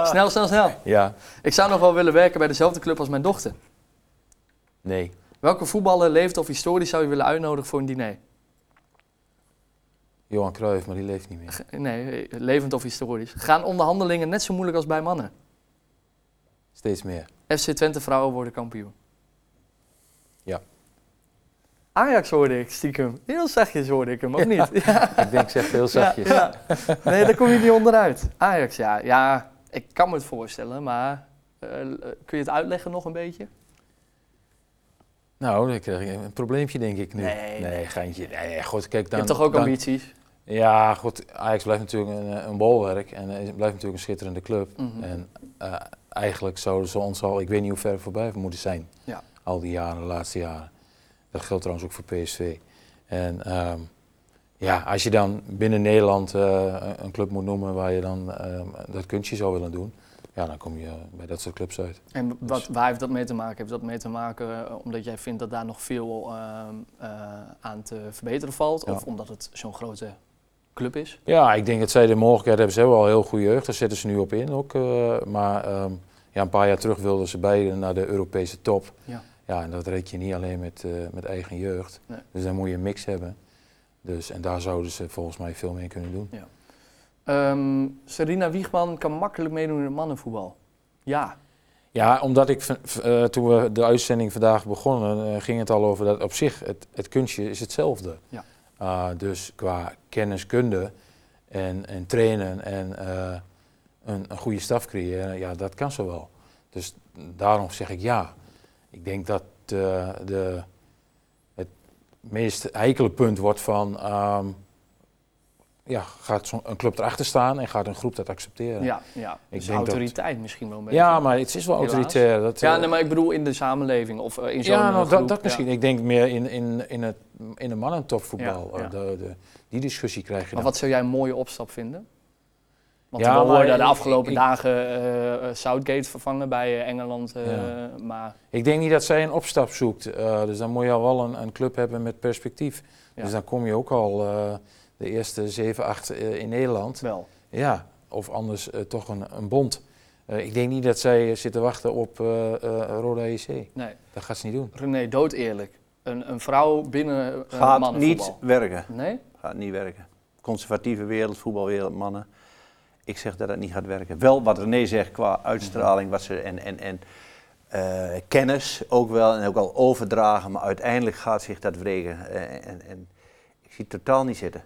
A: snel, snel, snel.
C: Ja.
A: Ik zou nog wel willen werken bij dezelfde club als mijn dochter.
C: Nee.
A: Welke voetballer, leeft of historisch zou je willen uitnodigen voor een diner?
C: Johan Cruijff, maar die leeft niet meer.
A: G- Nee, eh, levend of historisch. Gaan onderhandelingen net zo moeilijk als bij mannen?
C: Steeds meer.
A: FC Twente vrouwen worden kampioen.
C: Ja.
A: Ajax hoorde ik stiekem. Heel zachtjes hoorde ik hem, ook niet? Ja,
C: Ik denk, zeg heel zachtjes.
A: ja. Nee, daar kom je niet onderuit. Ajax, ja. Ja, ik kan me het voorstellen, maar eh, kun je het uitleggen nog een beetje?
C: Nou, ik krijg een probleempje, denk ik nu.
A: Nee, nee.
C: geintje. Nee, goed, kijk
A: Je
C: dan.
A: hebt toch ook
C: dan-
A: ambities?
C: Ja, goed. Ajax blijft natuurlijk een, eh, een bolwerk en eh, blijft natuurlijk een schitterende club.
A: Mhm.
C: En eh, eigenlijk zouden ze ons al, ik weet niet hoe ver voorbij moeten zijn.
A: Ja.
C: Al die jaren, de laatste jaren. Dat geldt trouwens ook voor PSV. En ehm, ja, als je dan binnen Nederland eh, een- een club moet noemen waar je dan ehm, dat kunstje zou willen doen, ja, dan kom je bij dat soort clubs uit.
A: En wat, waar heeft dat mee te maken? Heeft dat mee te maken eh, omdat jij vindt dat daar nog veel ehm, eh, aan te verbeteren valt?
C: Ja.
A: Of omdat het zo'n grote club is?
C: Ja, ik denk dat zij de mogelijkheid hebben. Ze hebben al heel goede jeugd, daar zitten ze nu op in ook. eh, maar ehm, ja, een paar jaar terug wilden ze beiden naar de Europese top.
A: Ja.
C: Ja, en dat red je niet alleen met, eh, met eigen jeugd.
A: Nee.
C: Dus dan moet je een mix hebben. Dus, en daar zouden ze volgens mij veel mee kunnen doen.
A: Ehm, Serena Wiegman kan makkelijk meedoen in het mannenvoetbal. Ja.
C: Ja, omdat ik van- v- eh, toen we de uitzending vandaag begonnen, eh, ging het al over dat op zich het, het kunstje is hetzelfde.
A: Ja.
C: Eh, dus qua kenniskunde en, en trainen en eh, een, een goede staf creëren, ja, dat kan ze wel. Dus daarom zeg ik ja. Ik denk dat eh, de, het meest heikele punt wordt van, ehm, ja, gaat zo'n een club erachter staan en gaat een groep dat accepteren?
A: Ja, ja. Dus
C: denk dat-
A: autoriteit misschien wel een beetje.
C: Ja, maar het is wel
A: Helaas.
C: autoritair. Dat,
A: Ja,
C: eh,
A: nee, maar ik bedoel in de samenleving of eh, in zo'n
C: ja, nou,
A: eh,
C: dat,
A: groep.
C: dat misschien.
A: Ja.
C: Ik denk meer in, in, in, het, in de mannentopvoetbal.
A: Ja, ja.
C: Eh, De, de, die discussie krijg je
A: Maar
C: dan.
A: wat zou jij een mooie opstap vinden? Want
C: Ja,
A: we
C: maar
A: hoorden de
C: ik-
A: afgelopen
C: ik-
A: dagen eh, eh, Southgate vervangen bij eh, Engeland. eh,
C: Ja.
A: Maar
C: Ik denk niet dat zij een opstap zoekt. Eh, dus dan moet je al wel een, een club hebben met perspectief.
A: Ja.
C: Dus dan kom je ook al eh, de eerste 7, 8 eh, in Nederland.
A: wel.
C: Ja, of anders eh, toch een, een bond. Eh, ik denk niet dat zij eh, zitten wachten op eh eh Roda EC.
A: Nee,
C: Dat gaat ze niet doen.
A: René, dood eerlijk. Een, een vrouw binnen eh
B: Gaat niet
A: mannenvoetbal.
B: werken.
A: Nee?
B: Gaat niet werken. Conservatieve wereld, voetbalwereld, mannen. Ik zeg dat dat niet gaat werken. Wel wat René zegt qua uitstraling wat ze, en, en, en eh, kennis ook wel. En ook al overdragen. Maar uiteindelijk gaat zich dat wreken. Eh, en, en ik zie het totaal niet zitten.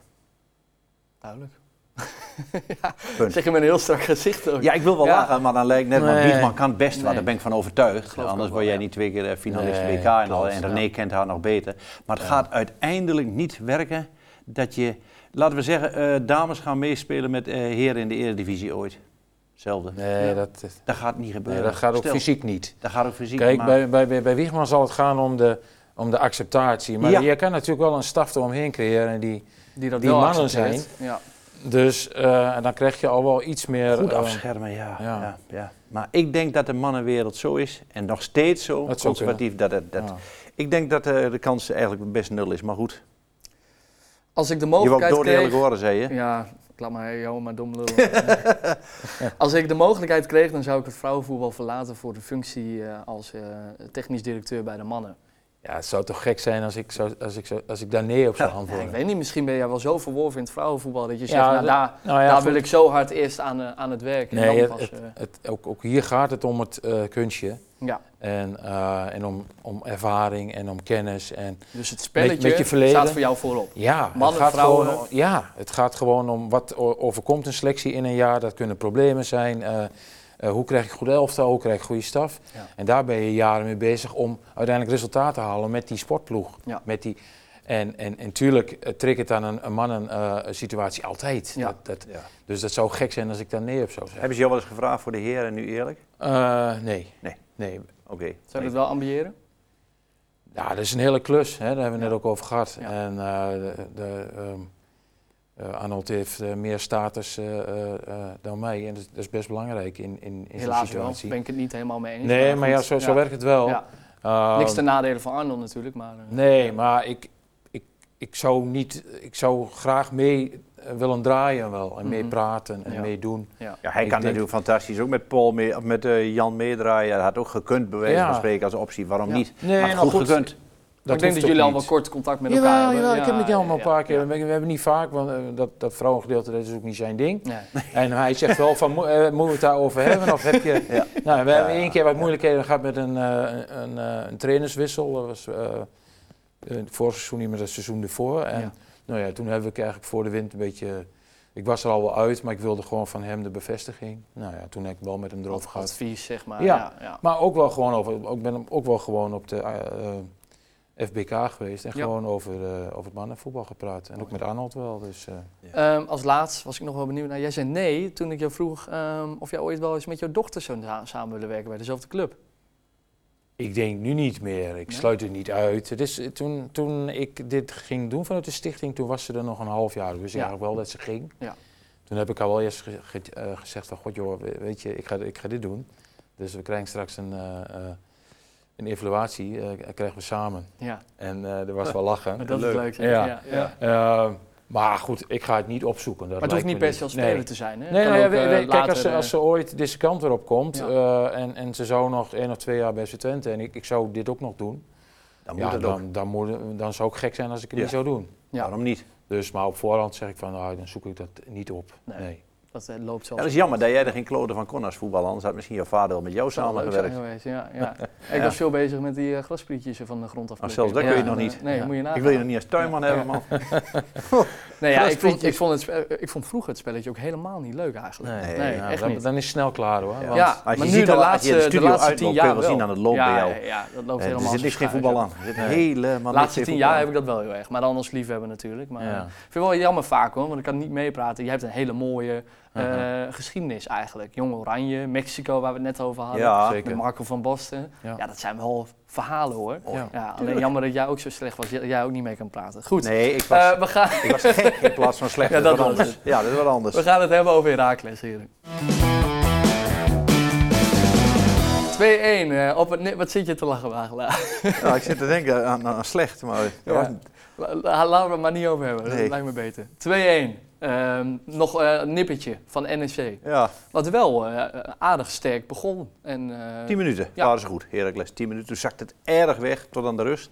A: Duidelijk.
B: Punt.
A: Zeg je met een heel strak gezicht ook.
B: Ja, ik wil wel
A: Ja.
B: lachen, maar dan lijkt net, maar
C: Nee.
B: Wiegman kan het best wel,
A: Nee.
B: daar ben ik van overtuigd.
A: Geloof ik
B: Anders
A: ook
B: word
A: wel,
B: jij
A: ja.
B: niet twee keer eh, finalist
C: Nee,
B: WK en al.
C: klopt,
B: En René
A: ja.
B: kent haar nog beter. Maar het
C: Ja.
B: gaat uiteindelijk niet werken dat je, laten we zeggen, eh, dames gaan meespelen met eh, heren in de Eredivisie ooit. Hetzelfde.
C: Nee,
A: Ja.
C: dat,
B: Dat gaat niet
C: nee,
B: gebeuren.
C: dat gaat ook
B: Stel,
C: fysiek niet.
B: Dat gaat ook fysiek.
C: Kijk,
B: maar-
C: bij, bij, bij, bij Wiegman zal het gaan om de, om de acceptatie. Maar
B: Ja.
C: je kan natuurlijk wel een staf eromheen creëren. Die,
A: die dat
C: die
A: wel
C: mannen
A: accepteert. Ja.
C: dus eh, en dan krijg je al wel iets meer...
B: Goed
C: eh,
B: afschermen, ja, ja.
C: ja.
B: Ja, Maar ik denk dat de mannenwereld zo is, en nog steeds zo,
C: Dat zou
B: conservatief, dat het... Dat,
C: ja.
B: Ik denk dat eh, de kans eigenlijk best nul is, maar goed.
A: Als ik de
B: Je wou ook
A: mogelijkheid
B: door de
A: kreeg...
B: hele horen, zei je.
A: Ja, ik laat maar jou maar dom lullen. Als ik de mogelijkheid kreeg, dan zou ik het vrouwenvoetbal verlaten voor de functie eh, als eh, technisch directeur bij de mannen.
C: Ja, het zou toch gek zijn als ik, zou, als ik, zou, als ik daar nee op zou
A: Ja, ik
C: antwoorden.
A: weet niet, misschien ben jij wel zo verworven in het vrouwenvoetbal dat je zegt,
C: Ja,
A: nou
C: dat-
A: daar,
C: nou ja,
A: daar
C: goed.
A: wil ik zo hard eerst aan, eh, aan het werk. en
C: Nee,
A: dan
C: het-
A: pas, eh,
C: Het, ook, ook hier gaat het om het eh, kunstje.
A: ja.
C: En, eh, en om, om ervaring en om kennis. En,
A: Dus het spelletje
C: met je verleden.
A: staat voor jou voorop.
C: ja,
A: Mannen,
C: het gaat
A: vrouwen.
C: Gewoon, om- ja, het gaat gewoon om wat o- overkomt een selectie in een jaar. Dat kunnen problemen zijn. eh, eh, hoe krijg ik goed elftal? Hoe krijg ik goede staf?
A: Ja.
C: En daar ben je jaren mee bezig om uiteindelijk resultaat te halen met die sportploeg.
A: Ja.
C: Met die, en, en, en tuurlijk eh, triggert dan een, een mannen-situatie altijd.
A: Ja.
C: Dat, dat, Dus dat zou gek zijn als ik daar nee op zou zeggen.
B: Hebben ze jou wel eens gevraagd voor de heren, nu eerlijk?
C: Eh, nee.
B: Nee.
C: nee.
B: Oké.
A: Zou je dat wel ambiëren?
C: Ja, dat is een hele klus. Hè? Daar hebben we
A: Ja.
C: net ook over gehad.
A: Ja.
C: En eh, de, de, ehm, eh, Arnold heeft eh, meer status eh, eh, eh, dan mij. En dat, is- dat is best belangrijk in, in, in zo'n
A: Helaas wel,
C: situatie.
A: ben ik het niet helemaal mee eens.
C: nee, maar ja,
A: goed.
C: zo, zo werkt het wel.
A: Ja.
C: Ehm,
A: Niks ten nadele van Arnold natuurlijk, maar... eh,
C: Nee, maar ik, ik, ik, zou niet, ik zou graag mee eh, willen draaien wel. En mee
A: Mhm.
C: praten en
A: Ja.
C: meedoen.
B: Ja, hij
C: Ik
B: kan
C: denk-
B: natuurlijk fantastisch ook met, Paul mee, of met eh, Jan meedraaien. Dat had ook gekund, bij wijze van
C: Ja.
B: spreken, als optie. Waarom
A: Ja.
B: niet?
C: Nee,
B: maar goed, gekund.
A: ik denk dat jullie al wel
C: kort.
A: kort contact met
C: Jawel,
A: elkaar hebben.
C: jawel, ik heb met
A: Ja,
C: jou al een
A: ja,
C: paar keer.
A: ja.
C: We hebben niet vaak, want eh, dat, dat vrouwengedeelte dat is ook niet zijn ding.
A: Nee.
C: En hij zegt wel van, mo- eh, moeten we het daarover hebben? Of heb je...
B: Ja.
C: Nou, we hebben
B: Ja,
C: één keer wat moeilijkheden gehad met een, eh, een, eh, een trainerswissel. Dat was eh, eh, vorig seizoen niet, maar het seizoen ervoor. En
A: Ja.
C: Nou ja, toen heb ik eigenlijk voor de wind een beetje... Ik was er al wel uit, maar ik wilde gewoon van hem de bevestiging. Nou ja, toen heb ik wel met hem erover
A: Ad-
C: gehad.
A: advies, zeg maar.
C: Ja.
A: Ja, ja.
C: Maar ook wel gewoon over. Ik ben hem ook wel gewoon op de eh, eh, FBK geweest en
A: Ja.
C: gewoon over, eh, over het mannenvoetbal gepraat. En ook met Arnold wel. Dus, eh,
A: Ehm, als laatst was ik nog wel benieuwd naar. Jij zei nee toen ik jou vroeg ehm, of jij ooit wel eens met jouw dochter zou na- samen willen werken bij dezelfde club.
C: ik denk nu niet meer. Ik
A: Nee?
C: sluit het niet uit. Het is, eh, toen, toen ik dit ging doen vanuit de stichting, toen was ze er nog een half jaar. Dus
A: Ja.
C: ik eigenlijk wel dat ze ging.
A: Ja.
C: Toen heb ik haar wel eerst ge- ge- eh, gezegd van, god joh, we- weet je, ik ga, ik ga dit doen. Dus we krijgen straks een, eh, eh, een evaluatie, eh, krijgen we samen.
A: Ja,
C: En eh, er was wel lachen.
A: dat is
B: leuk.
A: leuk. zeg.
C: Ja.
A: Ja. Ja.
C: Eh, maar goed, ik ga het niet opzoeken. Dat
A: Maar het hoeft niet
C: lijkt me
A: per se als
C: Nee.
A: speler te zijn. Hè? Het
C: Nee,
A: kan
C: nou ja,
A: ook,
C: we-
A: eh,
C: we- kijk, als
A: later,
C: ze,
A: eh,
C: als ze ooit deze kant weer op komt
A: Ja.
C: eh, en, en ze zou nog één of twee jaar bij Twente en ik, ik zou dit ook nog doen,
B: Dan moet
C: ja,
B: dat ook.
C: dan, dan, moet, dan zou ik gek zijn als ik het
B: Ja.
C: niet zou doen.
A: Ja.
B: Waarom niet?
C: Dus, maar op voorhand zeg ik van, nou, dan zoek ik dat niet op.
A: Nee.
C: Nee.
A: Dat eh, loopt
B: Ja,
A: zelfs.
B: dat is jammer dat jij er geen kloten van kon als voetballer. Anders had misschien jouw vader wel met jou
A: Dat zou leuk
B: samengewerkt.
A: zijn geweest, ja, ja. Ik was veel bezig met die eh, grasprietjes van de grond af.
B: Ah, zelfs dat kun je nog niet.
A: Nee,
C: Ja.
A: moet je nagaan.
B: Ik wil je nog niet als tuinman
A: Ja.
B: hebben, man.
A: Nee, ja, ik, vond,
B: Grasprietjes.
A: ik, vond het, spe- eh, ik vond vroeger het spelletje ook helemaal niet leuk eigenlijk. nee
B: Nee,
C: Ja,
A: echt
C: Nou, dan,
A: niet.
C: dan is het snel klaar hoor.
B: Ja.
C: want-
A: ja,
B: Als je
A: maar
B: ziet
A: nu de
B: al- als je
A: laatste,
B: de
A: de,
B: studio
A: laatste
B: uitloopt,
A: tien
B: kun je
A: jaar
B: wel
A: wel.
B: zien aan het lopen
A: ja,
B: bij jou.
A: Ja, ja, dat loopt
B: Eh, er
A: helemaal
B: zit
A: als een
B: niks geen
A: schuit,
B: voetbal
A: ja.
B: aan. Er zit
C: Nee.
B: helemaal
A: De laatste
B: niks
A: tien
B: geen
A: jaar heb
B: voetbal
A: ik dat wel heel erg. Maar dan als liefhebber natuurlijk. Maar, eh,
C: Ja.
A: Ik vind het wel jammer vaak hoor, want ik kan niet meepraten. Je hebt een hele mooie eh,
C: Uh-huh.
A: geschiedenis eigenlijk. Jong Oranje, Mexico waar we het net over
B: aan.
A: hadden.
B: Ja,
C: Zeker.
A: Met Marco van Basten. Ja.
C: Ja.
A: dat zijn wel verhalen hoor.
C: Ja.
B: Ja.
A: Ja, alleen
B: Tuurlijk.
A: jammer dat jij ook zo slecht was. Jij jij ook niet mee kan praten. Goed,
B: Nee, ik was,
A: eh, we, gaan,
B: ik was gek in plaats van slecht.
A: Ja,
B: dat is
A: dat
B: wat
A: was
B: anders. Ja, dat is wat anders.
A: we gaan het hebben over Herakles, heren. 2-1. eh, op het ne- wat zit je te lachen, Wagelaar?
B: Nou, ik zit te denken aan, aan slecht, maar het
A: Ja.
B: was niet.
A: La- la- Laten we het maar niet over hebben.
B: Nee.
A: Dat lijkt me beter. 2-1. Ehm, nog eh, een nippertje van NEC.
B: ja,
A: Wat wel eh, aardig sterk begon. En, eh,
B: 10 minuten
A: ja.
B: waren ze goed, Heracles. 10 minuten, toen zakte het erg weg tot aan de rust.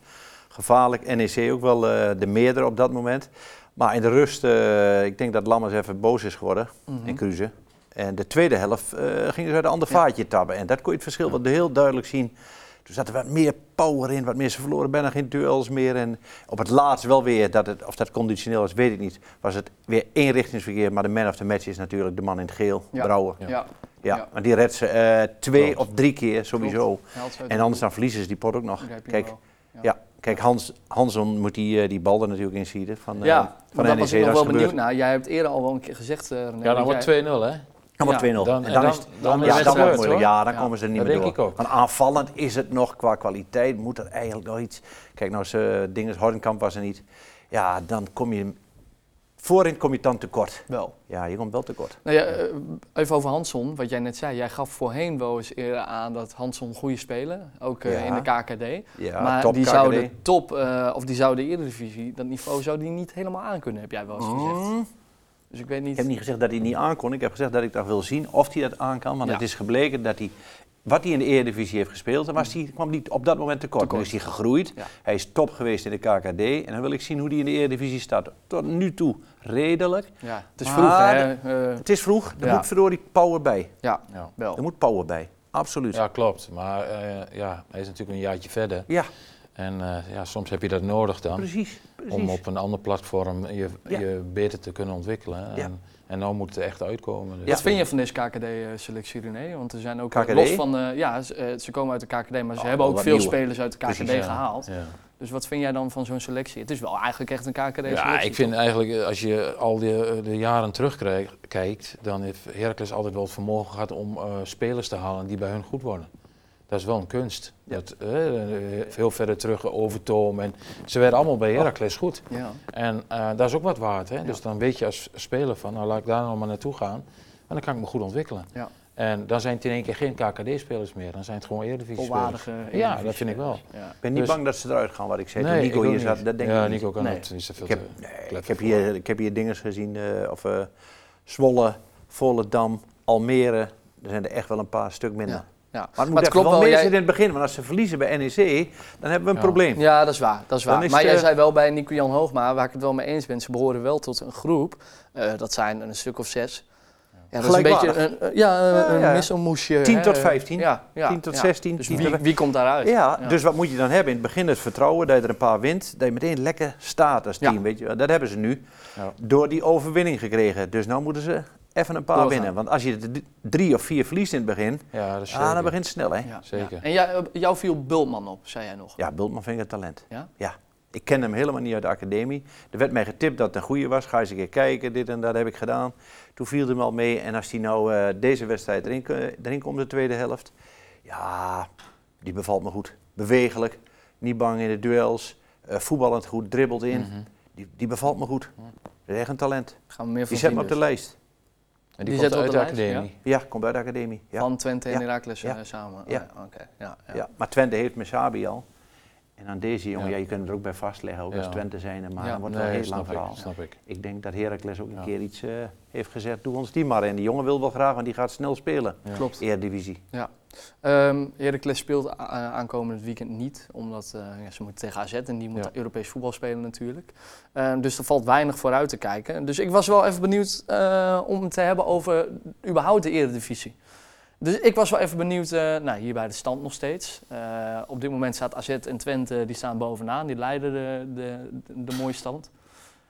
B: Gevaarlijk, NEC ook wel eh, de meerdere op dat moment. Maar in de rust, eh, ik denk dat Lammers even boos is geworden
A: mhm.
B: in Cruze. En de tweede helft eh ging dus uit een ander
A: Ja.
B: vaatje tappen. En dat kon je het verschil wel heel duidelijk zien. Toen zat er wat meer power in, wat meer ze verloren bijna geen duels meer. En op het laatst wel weer, dat het, of dat conditioneel was, weet ik niet, was het weer eenrichtingsverkeer. Maar de man of the match is natuurlijk de man in het geel,
A: Ja.
B: Brouwer.
A: Ja,
C: Ja.
B: Ja,
A: Ja.
B: maar die redt ze eh, twee
C: Klopt.
B: of drie keer sowieso.
A: haalt ze uit
B: En
A: de
B: anders
A: doel.
B: dan verliezen ze die pot ook nog.
A: Begrijp je
B: Kijk,
A: wel.
B: kijk Hans, Hanson moet die, eh, die bal er natuurlijk in schieten van, eh,
A: ja,
B: van
A: want daar was ik
B: NEC.
A: nog
B: Dat is
A: wel benieuwd
B: gebeurd.
A: naar. Jij hebt eerder al wel een keer gezegd, eh, René.
C: Ja,
A: dat
C: dan wordt
A: jij-
C: 2-0 hè.
B: Dan wordt
A: Ja.
B: 2-0.
C: Dan-
B: en
C: en
B: dan,
C: dan-
B: is het,
C: dan
B: dan,
A: is
B: ja,
A: het
B: dan wordt het
A: gebeurd,
B: moeilijk.
C: hoor.
B: Ja, dan
A: Ja.
B: komen ze er niet
C: Dat
B: meer
C: denk
B: door.
C: ik ook.
B: Want aanvallend is het nog qua kwaliteit, moet er eigenlijk nog iets. Kijk nou, eens, eh, Dinges Hornkamp was er niet. Ja, dan kom je. Voorin kom je dan tekort.
A: Wel.
B: Ja, je komt wel tekort.
A: Nou ja, eh, even over Hanson, wat jij net zei. Jij gaf voorheen wel eens eerder aan dat Hanson een goede speler, ook eh,
B: Ja.
A: in de KKD.
B: Ja,
A: maar
B: top
A: die
B: KKD.
A: zou de top, eh, of die zou de Eredivisie, dat niveau zou die niet helemaal aankunnen, heb jij wel eens
C: Oh.
A: gezegd.
B: Mm.
A: Dus ik weet niet...
B: Ik heb niet gezegd dat hij het niet aankon. Ik heb gezegd dat ik dat wil zien of hij dat aan kan. Want
A: Ja.
B: het is gebleken dat hij. Wat hij in de Eredivisie heeft gespeeld, dan was hij, kwam hij op dat moment tekort.
A: Tekort.
B: Nu is hij gegroeid.
A: Ja.
B: Hij is top geweest in de KKD. En dan wil ik zien hoe hij in de Eredivisie staat. Tot nu toe redelijk.
A: Ja, het is
B: Maar
A: vroeg, hè? eh,
B: Het is vroeg. Er
A: Ja.
B: moet verdorie power bij.
A: ja,
C: Ja.
A: wel.
B: Er moet power bij. Absoluut.
C: Ja, klopt. Maar eh, ja, hij is natuurlijk een jaartje verder.
B: Ja,
C: En eh, ja, soms heb je dat nodig dan.
B: precies. precies.
C: om op een ander platform je,
B: Ja.
C: je beter te kunnen ontwikkelen.
B: Ja.
C: En, en nou moet het er echt uitkomen. Dus
A: Wat vind je van deze KKD-selectie, eh, René? Want er zijn ook
B: KKD?
A: los van... eh, ja, ze, eh, ze komen uit de KKD, maar ze
B: Oh,
A: hebben ook
B: wat
A: veel
B: nieuwe.
A: spelers uit de KKD
B: Precies,
C: ja,
A: gehaald.
C: Ja,
A: Dus wat vind jij dan van zo'n selectie? Het is wel eigenlijk echt een KKD-selectie.
C: ja ik vind eigenlijk, eh, als je al die, eh, de jaren terugkijkt, dan heeft Heracles altijd wel het vermogen gehad om eh, spelers te halen die bij hun goed worden. Dat is wel een kunst.
B: Ja.
C: Dat, eh, eh, veel verder terug, eh, Overtoom. En ze werden allemaal
B: Oh.
C: bij Heracles goed.
A: Ja.
C: En eh dat is ook wat waard. Hè? Dus dan weet je als speler van, nou laat ik daar nou maar naartoe gaan. En dan kan ik me goed ontwikkelen.
A: Ja.
C: En dan zijn het in één keer geen KKD-spelers meer. Dan zijn het gewoon Eredivisie-spelers.
A: Volwaardige
B: eh,
C: Ja,
A: Eredivisie-spelers.
C: dat vind ik wel.
A: eh, Ja.
B: Ik ben niet
C: Dus-
B: bang dat ze eruit gaan, wat ik zei. Toen
C: ik
B: Nico
C: ook
B: hier
C: niet.
B: zat, dat denk
C: ja,
B: ik niet.
C: Nico kan
A: Nee.
C: het niet zoveel
B: Ik heb,
C: te-
B: nee,
C: klep
B: ik, heb
C: voor.
B: hier, ik heb hier dingen gezien, eh, of eh, Zwolle, Volendam, Almere. Er zijn er echt wel een paar stuk minder.
A: Ja. Ja.
B: Maar het moet
A: Maar het
B: even
A: klopt
B: wel
A: wel,
B: meer
A: jij-
B: zitten in het begin. Want als ze verliezen bij NEC, dan hebben we een
C: Ja.
B: probleem.
A: Ja, dat is waar. Dat is
B: Dan
A: waar.
B: is
A: maar
B: het,
A: jij
B: eh,
A: zei wel bij Nico-Jan Hoogma, waar ik het wel mee eens ben, ze behoren wel tot een groep. eh, dat zijn een stuk of zes. Ja, Ja, dat is een beetje
B: Gelijkwaardig.
A: een, eh, ja, een-
B: Ja,
A: een
B: ja.
A: misselmoesje.
B: 10
A: hè,
B: tot
A: eh,
B: 15.
A: Ja, ja,
B: 10 tot
A: ja.
B: 16,
A: Dus
B: 10
A: wie,
B: tot-
A: wie komt daaruit?
B: Ja,
A: Ja.
B: dus wat moet je dan hebben? In het begin het vertrouwen dat je er een paar wint, dat je meteen lekker staat als team.
A: Ja.
B: Weet je. wel. Dat hebben ze nu
C: Ja.
B: door die overwinning gekregen. Dus nu moeten ze even een paar
A: Doorgaan.
B: winnen. Want als je er d- drie of vier verliest in het begin,
C: Ja, dat is
B: ah,
C: zeker.
B: dan begint het snel. Hè? Ja.
A: Ja,
C: Zeker.
A: ja. En jij, eh, jou viel Bultman op, zei jij nog.
B: Bultman vind ik een talent.
A: Ja?
B: Ik ken hem helemaal niet uit de academie. Er werd mij getipt dat het een goede was. Ga eens een keer kijken, dit en dat heb ik gedaan. Toen viel hem al mee. En als hij nou eh, deze wedstrijd erin, ke- erin komt, de tweede helft. Ja, die bevalt me goed. Bewegelijk, niet bang in de duels. eh, voetballend goed, dribbelt in.
C: Mhm.
B: Die, die bevalt me goed. Dat is echt een talent.
A: Gaan we meer van
B: Die zet me
A: zien
B: op de
A: dus.
B: lijst.
A: Die
C: En die, komt
A: zetten we
C: uit
A: op
C: de,
A: de lijst,
C: academie.
B: Ja, komt uit de academie. Ja.
A: Van Twente en
B: Ja.
A: Heracles eh,
B: Ja.
A: samen.
B: Ja.
A: Ah, Oké. Ja, ja.
B: Ja, maar Twente heeft Mesabi al. En aan deze jongen, ja.
C: Ja.
B: je kunt er ook bij vastleggen, ook
C: Ja.
B: als Twente zijn. Maar
A: Ja,
B: dat wordt
C: Nee,
B: wel een heel
C: snap
B: lang
C: ik,
B: verhaal.
C: Snap ik.
B: Ik denk dat Heracles ook een
C: Ja.
B: keer iets eh, heeft gezegd. Doe ons die maar. En die jongen wil wel graag, want die gaat snel spelen.
C: Ja.
A: Klopt.
B: Eredivisie.
A: Ehm Heracles speelt a- eh, aankomend weekend niet, omdat eh, ja, ze moeten tegen AZ en die moeten
C: Ja.
A: Europees voetbal spelen natuurlijk. Ehm, dus er valt weinig vooruit te kijken. Dus ik was wel even benieuwd eh, om het te hebben over überhaupt de Eredivisie. Dus ik was wel even benieuwd, eh, nou hier bij de stand nog steeds. Eh, op dit moment staat AZ en Twente, die staan bovenaan, die leiden de, de, de, de mooie stand.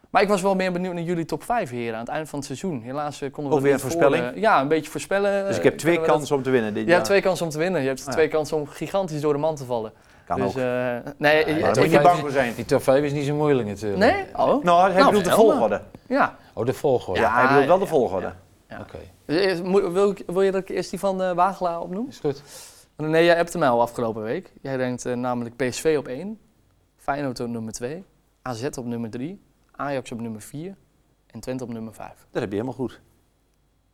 A: Maar ik was wel meer benieuwd naar jullie top 5 heren aan het eind van het seizoen. Helaas eh, konden we
B: Ook
A: er
B: weer
A: niet
B: een
A: voor,
B: voorspelling?
A: eh, ja, een beetje voorspellen.
B: Dus ik
A: eh,
B: heb twee
A: kunnen we dat-
B: kansen om te winnen dit
A: je hebt
B: jaar.
A: twee kansen om te winnen. Je hebt
B: Ah,
A: twee kansen om gigantisch door de man te vallen.
B: Kan
A: dus,
B: ook.
A: eh, nee,
C: Ah,
A: eh,
B: maar
A: ik
B: daar moet je
A: heb-
C: heb-
B: bang voor zijn.
C: Die top 5 is niet zo moeilijk natuurlijk.
A: nee? Oh,
B: Nou, hij
A: Nou,
B: bedoelt de
A: wel, maar-
B: volgorde.
A: ja.
C: Oh, de volgorde.
B: Ja, hij bedoelt wel de
A: ja,
B: volgorde.
A: ja. Ja.
C: Oké,
A: Dus eerst- moet- wil, ik- wil je dat ik eerst die van eh Wagelaar opnoem?
C: is goed.
A: Nee, jij hebt hem al afgelopen week. Jij denkt eh, namelijk PSV op 1, Feyenoord op nummer 2, AZ op nummer 3, Ajax op nummer 4 en Twente op nummer 5.
B: Dat heb je helemaal goed.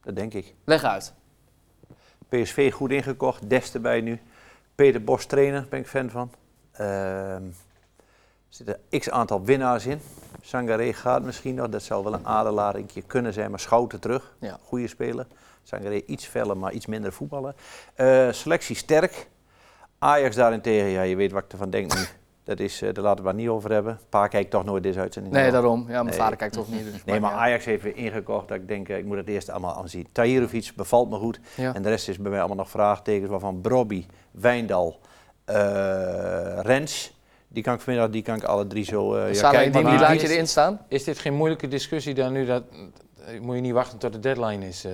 B: Dat denk ik.
A: Leg uit.
B: PSV goed ingekocht, Des erbij nu. Peter Bos trainer, ben ik fan van. Ehm, er zitten x aantal winnaars in. Sangaré gaat misschien nog, dat zou wel een aderlaringje kunnen zijn, maar Schouten terug.
A: Ja.
B: Goede speler. Sangaré iets feller, maar iets minder voetballen. Eh, selectie sterk. Ajax daarentegen, ja, je weet wat ik ervan denk nu. Dat is, eh daar laten we het maar niet over hebben. Pa kijkt toch nooit deze uitzending.
A: Nee,
B: aan.
A: daarom. Ja, mijn
B: Nee.
A: vader kijkt toch niet. dus
B: Nee, maar
A: maakt
B: Ajax heeft weer ingekocht. Dat ik denk, eh, ik moet het eerst allemaal aanzien. Tahirovic bevalt me goed.
A: niet uit. Ja.
B: En de rest is bij mij allemaal nog vraagtekens, waarvan Brobby, Wijndal, eh, Rens, die kan ik vanmiddag, die kan ik alle drie zo... eh, ja,
A: Salah,
B: kijk
A: die,
B: maar
A: die
B: naar-
A: laat je erin staan.
C: Is dit geen moeilijke discussie dan nu? Dat, eh, moet je niet wachten tot de deadline is. eh?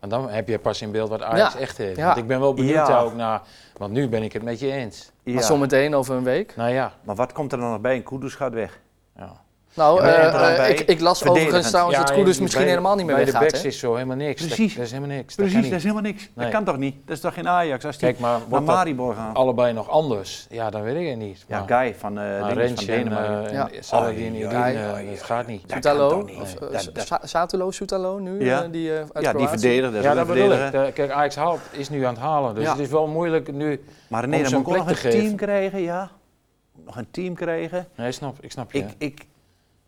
C: want dan heb je pas in beeld wat Ajax
A: Ja,
C: echt heeft.
A: ja.
C: Want ik ben wel benieuwd
B: Ja.
C: daar ook naar. Want nu ben ik het met je eens.
A: Maar
B: ja.
A: zometeen over een week.
C: Nou ja.
B: Maar wat komt er dan nog bij? Een Kudus gaat weg.
C: ja.
A: Nou,
B: Ja, maar
A: eh,
B: er dan
A: eh,
B: bij
A: ik, ik las overigens
B: verdedigend.
A: trouwens
C: ja,
A: dat Koeders
C: bij-
A: misschien
C: bij-
A: helemaal niet meer
C: Bij de
A: weggaat.
C: backs
A: hè?
C: is zo helemaal niks. Dat-
B: Precies.
C: Dat, is helemaal niks.
B: Precies,
C: dat
B: dat,
C: kan
B: is
C: niet.
B: helemaal niks.
C: Nee.
B: Dat kan toch niet? Dat is toch geen Ajax? Als die
C: Kijk, maar
B: naar
C: wordt dat
B: Maribor gaan.
C: allebei nog anders? Ja, dan weet ik het niet.
B: Ja,
C: Maar-
B: Guy van, eh
C: maar
B: dinges van
C: Rensje en,
B: Denemarken.
C: eh,
A: Ja.
C: en Saladin
B: Oei,
C: en
B: oei,
C: Idine,
B: oei,
C: Eh, dat gaat niet.
B: Dat
A: Soetalo,
B: kan toch niet?
A: of, eh,
B: Dat- dat-
A: Sa- Satulo, Soetalo nu,
B: Ja.
A: eh, die eh uit
B: ja, die
A: Kroatië.
B: verdediger, dat is
C: ja,
B: wel
C: dat
B: een
C: bedoel ik.
B: verdediger.
C: Eh, Kijk, Ajax haalt, is nu aan het halen. Dus
A: Ja.
C: het is wel moeilijk nu.
B: Maar
C: Om
B: nee, dan
C: zo'n
B: moet ik ook nog
C: plek te
B: een team
C: geven.
B: krijgen, ja. Nog een team krijgen.
C: Nee, snap, ik snap je.
B: Ik, ik,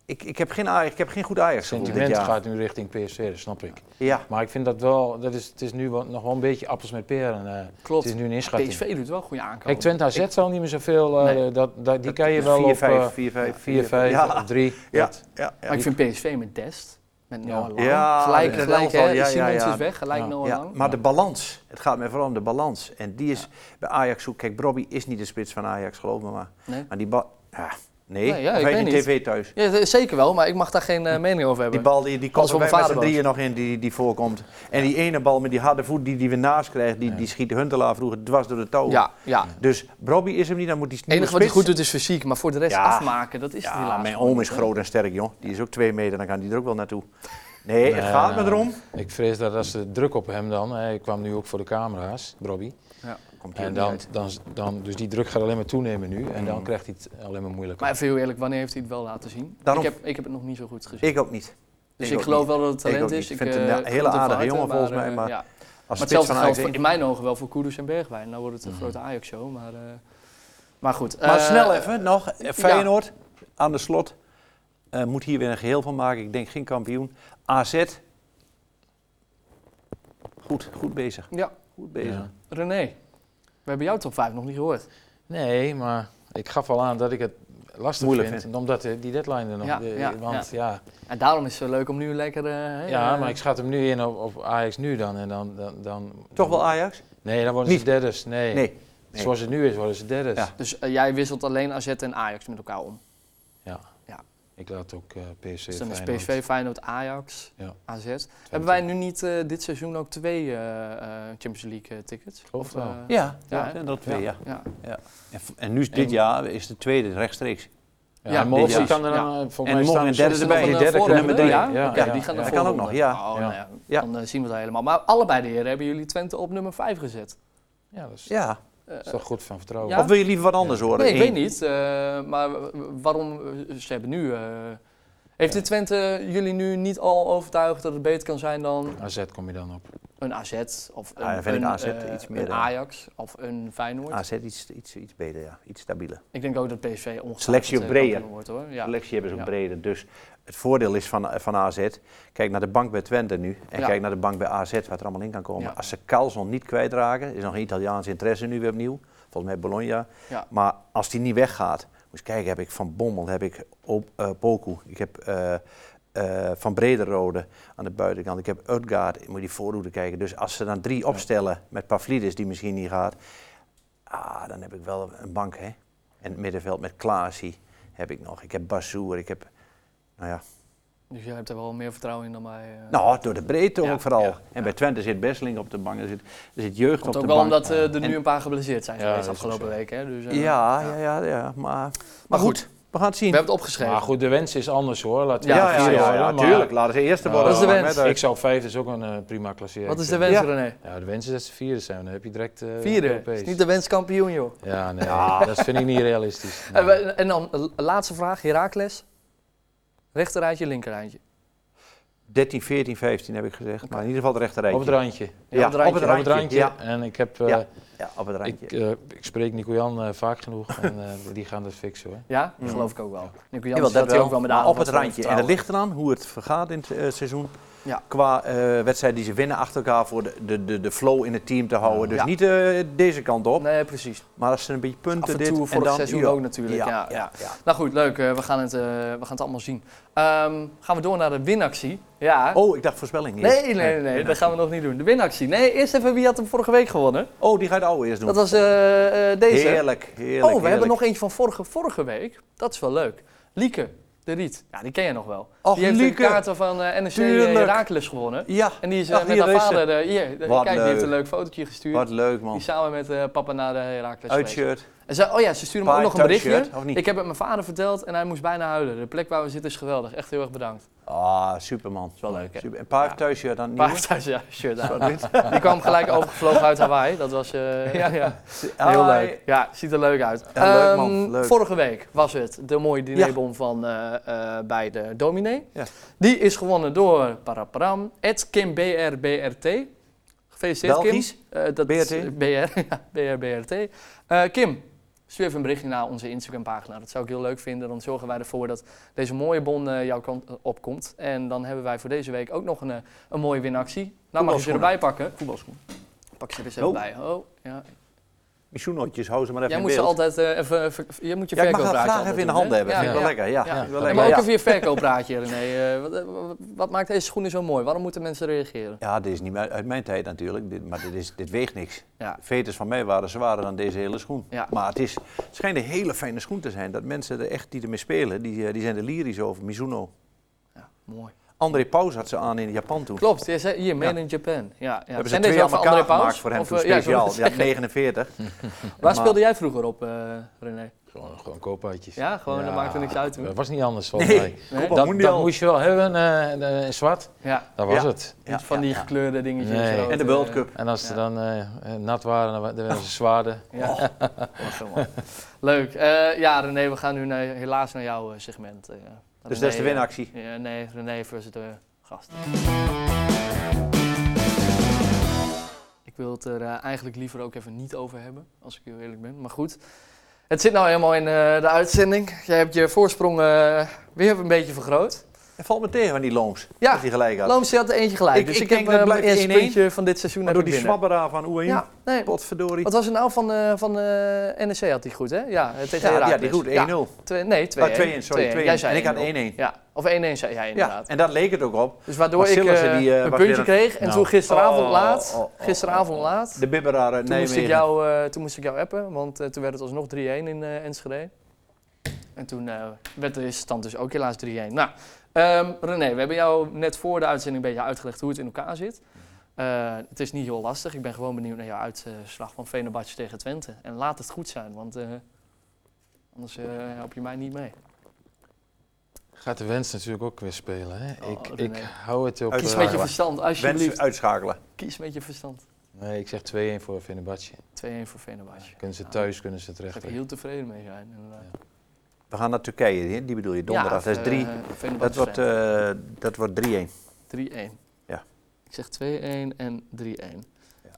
B: ik, ik, heb, geen Ajax, ik heb geen goed Ajax gevoel dit
C: sentiment
B: jaar.
C: gaat nu richting PSV, dat snap ik.
B: Ja.
C: Maar ik vind dat wel, dat is, het is nu wel- nog wel een beetje appels met peren. eh.
A: Klopt.
C: Het is nu een inschatting.
A: PSV doet wel een goede aankoop.
C: Kijk, Twente AZ zal niet meer zoveel, eh,
A: Nee.
C: dat, dat, die kan je wel op eh,
B: 4-5,
A: eh,
C: 4-5,
B: 4-5,
C: 4-5,
B: Ja.
C: 3.
B: Ja, ja,
A: maar ik vind PSV met Dest, met Noah Lang,
B: Ja,
A: gelijk,
B: dat
A: gelijk
B: elftal,
A: hè,
B: ja, ja,
A: Simons
B: ja.
A: is weg, gelijk
C: Ja.
A: Noah
B: Ja,
A: Lang.
B: maar de balans. Het gaat mij vooral om de balans. En die is bij Ajax zoek. Kijk, Bobby is niet de spits van Ajax, geloof me maar.
A: Nee.
B: Maar die bal. Ja, nee,
A: Nee, ja,
B: of
A: ik
B: hij
A: weet
B: is
A: niet.
B: in tv thuis.
A: Ja, dat is zeker wel, maar ik mag daar geen eh, mening over
B: Die
A: hebben.
B: bal die, die
A: Als
B: komt
A: we
B: er bij
A: mijn
B: met
A: vader
B: z'n drieën nog in die, die voorkomt. En die ene bal met die harde voet die, die we naast krijgen, die, die schiet Huntelaar vroeger dwars door de touw.
A: ja, ja.
B: Dus Bobby is hem niet, dan moet die
A: Het enige wat hij
B: spits-
A: goed doet is fysiek, maar voor de rest
B: Ja.
A: afmaken, dat is het
B: Ja,
A: helaas
B: mijn
A: gewoon
B: oom
A: niet,
B: is
A: hè.
B: groot en sterk, joh. Die is ook twee meter, dan kan die er ook wel naartoe. Nee, het
C: Nee,
B: gaat me
C: nou,
B: erom.
C: Ik vrees dat als de druk op hem dan, hij kwam nu ook voor de camera's, Robbie.
B: Komt hij
C: En
B: er
C: dan,
B: niet uit.
C: dan, dan, dus die druk gaat alleen maar toenemen nu. En dan
B: Mm.
C: krijgt hij het alleen maar moeilijker.
A: Maar even heel eerlijk, wanneer heeft hij het wel laten zien?
B: Daarom.
A: Ik heb, ik heb het nog niet zo goed gezien.
B: Ik ook niet.
A: Dus
B: Ik
A: ik,
B: ook
A: geloof
B: niet.
A: wel dat het
B: Ik
A: talent
B: ook
A: is.
B: niet.
A: Ik
B: Ik vind
A: eh,
B: het een
A: geloof
B: hele
A: het van
B: aardige
A: harte,
B: jongen volgens mij,
A: eh,
B: maar
A: ja.
B: Als
A: Maar
B: spits
A: hetzelfde
B: van
A: geldt
B: Ajax
A: voor-
B: één. Mhm.
A: in mijn ogen wel voor Koeders en Bergwijn. Nou wordt het een grote Ajax-show, maar, eh, maar goed.
B: Maar
A: eh,
B: snel even nog. eh, Feyenoord aan de slot. Eh, moet hier weer een geheel van maken. Ik denk geen kampioen. AZ. Goed, goed bezig.
A: Ja,
B: Goed bezig.
C: Ja.
A: René, we hebben jouw top 5 nog niet gehoord.
C: Nee, maar ik gaf al aan dat ik het lastig
B: Moeilijk
C: vind.
B: vindt.
C: Omdat eh, die deadline er nog...
A: Ja,
C: de-
A: ja,
C: want ja.
A: En daarom is het zo leuk om nu lekker... eh, hè,
C: Ja,
A: eh,
C: maar ik schat hem nu in op, op Ajax nu dan. En dan, dan, dan
B: Toch wel Ajax?
C: Nee, dan worden ze
B: Niet.
C: derdes. Nee.
B: Nee. nee.
C: Zoals het nu is, worden ze derdes.
B: Ja.
C: Ja.
A: Dus eh, jij wisselt alleen AZ en Ajax met elkaar om. Ja.
C: Ik laat ook eh PSV
A: Dus dan is
C: Feyenoord.
A: PSV, Feyenoord, Ajax,
C: Ja.
A: AZ. Hebben wij nu niet eh, dit seizoen ook twee eh, eh, Champions League eh, tickets?
C: Geloof het wel.
A: eh,
B: Ja,
A: Ja,
B: ja,
A: hè?
B: dat twee, ja.
A: ja.
B: En, v- en nu is dit
C: En-
B: jaar is de tweede rechtstreeks.
C: Ja,
A: Ja,
C: en morgen
B: precies.
C: kan er
A: Ja.
C: dan... eh, Volgens
B: En
C: mij
B: morgen
C: staan
B: een
C: er
B: derde
C: zes-
A: erbij.
C: nee,
A: Nog
C: die
A: een
C: derde
A: voorronde,
C: komt erbij.
A: eh, ja?
C: Ja,
A: Ja,
C: ja,
A: die gaan
C: ja.
A: naar
B: dat kan ook nog, ja.
A: Oh,
C: Ja.
A: nou ja,
B: Ja.
A: Dan eh, zien we het helemaal. Maar allebei de heren hebben jullie Twente op nummer 5 gezet.
C: Ja, dat is,
B: Ja.
A: Eh,
C: is toch goed van vertrouwen.
A: Ja?
B: Of wil je liever wat anders horen?
A: nee, ik
B: Eén.
A: weet niet. eh, maar w- w- waarom eh, ze hebben nu... eh, heeft
C: Ja.
A: de Twente jullie nu niet al overtuigd dat het beter kan zijn dan
C: AZ kom je dan op.
A: een AZ of een,
B: Ah, dan vind ik
A: een,
B: AZ
A: eh,
B: iets meer,
A: een
B: eh,
A: Ajax of een Feyenoord?
B: AZ iets, iets, iets beter, ja. iets stabieler.
A: Ik denk ook dat PSV ongetwijfeld
B: Selectie op
A: eh,
B: Breyer.
A: kampioen wordt hoor. Ja.
B: De selectie hebben ze ook
A: Ja.
B: breder. Dus het voordeel is van, van AZ, kijk naar de bank bij Twente nu. En
A: Ja.
B: kijk naar de bank bij AZ, wat er allemaal in kan komen.
A: Ja.
B: Als ze Carlson niet kwijtraken, is nog een Italiaans interesse nu weer opnieuw. Volgens mij Bologna.
A: Ja.
B: Maar als die niet weggaat, moet je kijken, heb ik Van Bommel, heb ik Op- eh, Poku, ik heb eh, eh, Van Brederode aan de buitenkant, ik heb Utgaard, moet je die voorhoede kijken. Dus als ze dan drie opstellen met Pavlidis, die misschien niet gaat, ah, dan heb ik wel een bank, hè. En het middenveld met Klaasie heb ik nog, ik heb Bazoer, ik heb, nou ja,
A: Dus jij hebt er wel meer vertrouwen in dan mij. eh.
B: nou, door de breedte
A: Ja,
B: ook vooral.
A: ja, ja.
B: En bij Twente zit Besseling op de bank, er zit, er zit jeugd
A: Komt
B: op
A: ook
B: de
A: wel
B: bank.
A: omdat eh, er nu
B: En-
A: een paar geblesseerd zijn
C: Ja,
A: geweest
C: dat is
A: afgelopen
C: ook zo.
A: week. Hè? Dus, eh,
B: ja, ja, ja, ja, maar, maar goed, we gaan het
A: We
B: zien.
A: hebben het opgeschreven.
C: Maar goed, de wens is anders hoor. Laten we
A: Ja,
C: het vieren worden, maar-
B: tuurlijk. Laten ze eerste
C: Ja,
B: worden.
A: dat is de
B: Maakt
A: wens.
B: mij
C: Ik
B: uit.
C: zou vijfde is ook een eh, prima klassiek.
A: Wat is de wens,
B: Ja.
A: René?
C: Ja, de wens is dat ze vierde zijn. Dan heb je direct eh
A: Vierde.
C: Europees.
A: Is niet de wenskampioen, joh.
C: Ja, nee, dat vind ik niet realistisch.
A: En, we- en dan een laatste vraag, Herakles. Rechterrijtje, linkerrijtje.
B: 13, 14, 15 heb ik gezegd. Maar in ieder geval het rechterrijtje.
C: Op het randje.
B: Ja,
A: op het randje.
C: Op het randje.
B: Ja,
C: En ik heb... eh,
B: Ja, ja, op het randje.
C: ik, eh, ik spreek Nico Jan eh, vaak genoeg en eh, die gaan dat fixen hoor.
A: Ja,
B: Mm.
A: dat geloof ik ook wel. Nico
B: Ja,
A: Jansen
B: wel,
A: zat hier ook wel met de
B: maar op
A: aandacht
B: het
A: van
B: randje. En dat
A: vertrouwen.
B: ligt eraan hoe het vergaat in het eh, seizoen.
A: Ja.
B: Qua eh, wedstrijden die ze winnen achter elkaar voor de, de, de, de flow in het team te houden. Dus
A: Ja.
B: niet eh, deze kant op.
A: Nee, precies.
B: Maar als ze een beetje punten
A: Af en
B: dit
A: toe voor het seizoen
B: ja.
A: ook natuurlijk. Ja, ja.
B: ja, ja.
A: Nou goed, leuk. eh, we, gaan het, eh, we gaan het allemaal zien. Ehm, gaan we door naar de winactie. Ja.
B: Oh, ik dacht voorspelling niet.
A: Nee, nee, nee, nee, dat gaan we nog niet doen. De winactie. Nee, eerst even wie had hem vorige week gewonnen.
B: Oh, die ga je de oude eerst doen.
A: Dat was eh, eh, deze.
B: Heerlijk, heerlijk.
A: oh, we hebben
B: heerlijk.
A: nog eentje van vorige, vorige week. Dat is wel leuk. Lieke de Riet. Ja, die ken je nog wel.
B: Och,
A: die heeft
B: Lieke.
A: de kaarten van eh NEC
B: Tuurlijk.
A: Herakles gewonnen.
B: Ja,
A: En die is eh,
B: Ach,
A: met
B: hier
A: haar
B: is ze.
A: vader... eh, hier, eh,
B: Wat
A: kijk, die heeft
B: leuk.
A: een leuk fotootje gestuurd.
B: wat leek man.
A: Die samen met eh, papa naar de Herakles
B: Uitshirt.
A: En ze, oh ja, ze stuurde me ook
B: Paar
A: nog een berichtje.
B: thuisshirt, of niet?
A: Ik heb het mijn vader verteld en hij moest bijna huilen. De plek waar we zitten is geweldig. Echt heel erg bedankt.
B: Ah, superman.
A: wel leuk, hè?
B: Super. En paar
A: Ja.
B: thuisje dan niet.
A: Paar thuis, ja, shirt aan. Die kwam gelijk overgevlogen uit Hawaii. Dat was eh, ja, ja.
B: Ah,
A: Heel leuk. Ja, ziet er leuk uit.
B: Ja, leuk, man.
A: Ehm,
B: Leuk.
A: Vorige week was het de mooie dinerbon van, eh, eh, bij de dominee.
B: Ja.
A: Die is gewonnen door Parapram, Ed Kim BRBRT. Gefeliciteerd
B: Belgisch?
A: Kim. Eh, dat
B: BRT?
A: BR, ja, BRBRT. Eh, Kim, stuur even een berichtje naar onze Instagram pagina. Dat zou ik heel leuk vinden. Dan zorgen wij ervoor dat deze mooie bon eh, jouw kant opkomt. En dan hebben wij voor deze week ook nog een, eh, een mooie winactie. Nou mag je ze
B: Voetbalschoenen.
A: erbij pakken.
B: Voetbalschoen.
A: Pak ze er eens even
B: Oh.
A: bij. Oh, ja,
B: Die schoenotjes, hou ze maar even
A: Jij
B: in
A: moet ze
B: beeld.
A: altijd eh, even, even- je moet je
B: ja, ik mag dat
A: verkoopraadje
B: graag
A: altijd
B: even in de
A: doen,
B: handen
A: hè?
B: hebben.
A: Ja,
B: Vind ik wel
A: ja.
B: lekker. Ja,
A: Ja.
B: Vind ik wel
C: Ja,
A: Ja,
B: lekker.
A: maar ook even
B: ja.
A: je verkoopraadje, René. Eh, wat, wat- wat maakt deze schoenen zo mooi? Waarom moeten mensen reageren?
B: Ja, dit is niet meer uit mijn tijd natuurlijk, dit, maar dit, is, dit weegt niks.
A: Ja.
B: Veters van mij waren zwaarder dan deze hele schoen.
A: Ja.
B: Maar het, is, het schijnt een hele fijne schoen te zijn. Dat mensen er echt die ermee spelen, die, eh, die zijn er lyrisch over. Mizuno.
A: Ja, mooi.
B: André Paus had ze aan in Japan toen.
A: Klopt, je zei- hier, Made in Japan. Ja, ja.
B: Hebben ze
A: Zijn
B: twee
A: deze ook
B: aan
A: van
B: elkaar
A: André Pauws?
B: gemaakt voor hem
A: Of,
B: toen
A: eh, ja,
B: speciaal.
A: zo-
B: Ja, 49.
A: Waar
B: Maar-
A: speelde jij vroeger op, eh, René?
C: Gewoon, gewoon koopuitjes.
A: Ja, gewoon, dat maakte niks uit toen.
C: Dat was niet anders volgens mij.
A: Nee?
B: Koepa-
C: Dat, dat
B: Mundial.
C: moest je wel hebben eh, eh, in zwart.
A: Ja,
C: Dat was
B: Ja.
C: het.
A: niet van die gekleurde dingetjes.
C: Nee.
A: rood,
B: En de
A: eh,
B: World Cup.
C: En als ze
A: Ja.
C: dan eh, eh, nat waren, dan wa- dan werden ze zwaarder.
B: Oh.
A: Ja. Was zo mooi. Leuk. Eh, ja, René, we gaan nu naar- helaas naar jouw eh, segment. eh.
B: Dus
A: René,
B: dat is de
A: eh,
B: winactie.
A: Ja, nee, René versus de gast. Ik wil het er eh, eigenlijk liever ook even niet over hebben, als ik heel eerlijk ben. Maar goed, het zit nou helemaal in eh, de uitzending. Jij hebt je voorsprong eh, weer een beetje vergroot.
B: Hij valt me tegen van die Looms.
A: Ja,
B: Dat hij gelijk had.
A: Looms die had er eentje gelijk.
B: Ik-
A: dus
B: ik
A: ik,
B: denk
A: heb
B: dat
A: eh,
B: het
A: mijn
B: blijft
A: eerste
B: 1-1.
A: puntje van dit seizoen
B: maar
A: heb
B: door die
A: ik binnen.
B: zwabberaar van Oehin.
A: Ja, nee.
B: Potverdorie.
A: Wat was het nou van, eh van eh NEC had hij goed, hè? Ja, eh, tegen
B: Ja, ja,
A: Heracles.
B: die goed, 1-0.
A: Ja, twee- nee, 2-1.
B: Ah, 2-1,
A: 2-1.
B: sorry, 2-1.
A: Jij zei
B: En ik had
A: 1-0.
B: 1-1.
A: Ja, of 1-1 zei jij
B: Ja,
A: inderdaad.
B: en dat leek het ook op.
A: Dus waardoor
B: Maar
A: ik
B: Sillissen,
A: eh,
B: die, eh,
A: een
B: was
A: puntje
B: weer een-
A: kreeg. En
C: Nou.
A: toen gisteravond
B: Oh,
A: laat,
B: oh, oh, oh,
A: gisteravond
B: oh.
A: laat,
B: De bibberaar uit
A: toen, moest ik
B: Nijmegen.
A: jou, eh, toen moest ik jou appen. Want eh, toen werd het alsnog 3-1 in eh Enschede. En toen eh, werd de eerste stand dus ook helaas 3-1. Nou, ehm, René, we hebben jou net voor de uitzending een beetje uitgelegd hoe het in elkaar zit. Eh, het is niet heel lastig. Ik ben gewoon benieuwd naar jouw uitslag van Venebadje tegen Twente. En laat het goed zijn, want eh, anders eh, help je mij niet mee.
C: Gaat de wens natuurlijk ook weer spelen. Hè?
A: Oh,
C: ik,
A: René.
C: ik hou het op...
B: Kies
A: Kies
C: eh,
A: met je
B: waar.
A: verstand,
B: Wens
A: alsjeblieft.
B: uitschakelen.
A: Kies met je verstand. 2-1
C: Nee, ik zeg 2-1 voor Fenerbahce.
A: voor Venebadje.
C: Kunnen ze
A: Ja.
C: thuis, kunnen ze
A: Daar
C: terecht.
A: zou ik heel tevreden mee zijn. inderdaad.
B: We gaan naar Turkije, die- die bedoel je donderdag.
A: Ja,
B: dat, is drie,
A: eh, Fenerbahce
B: dat, wordt,
A: Feyenoord.
B: eh, dat wordt 3-1.
A: 3-1.
B: Ja.
A: Ik zeg 2-1 en 3-1.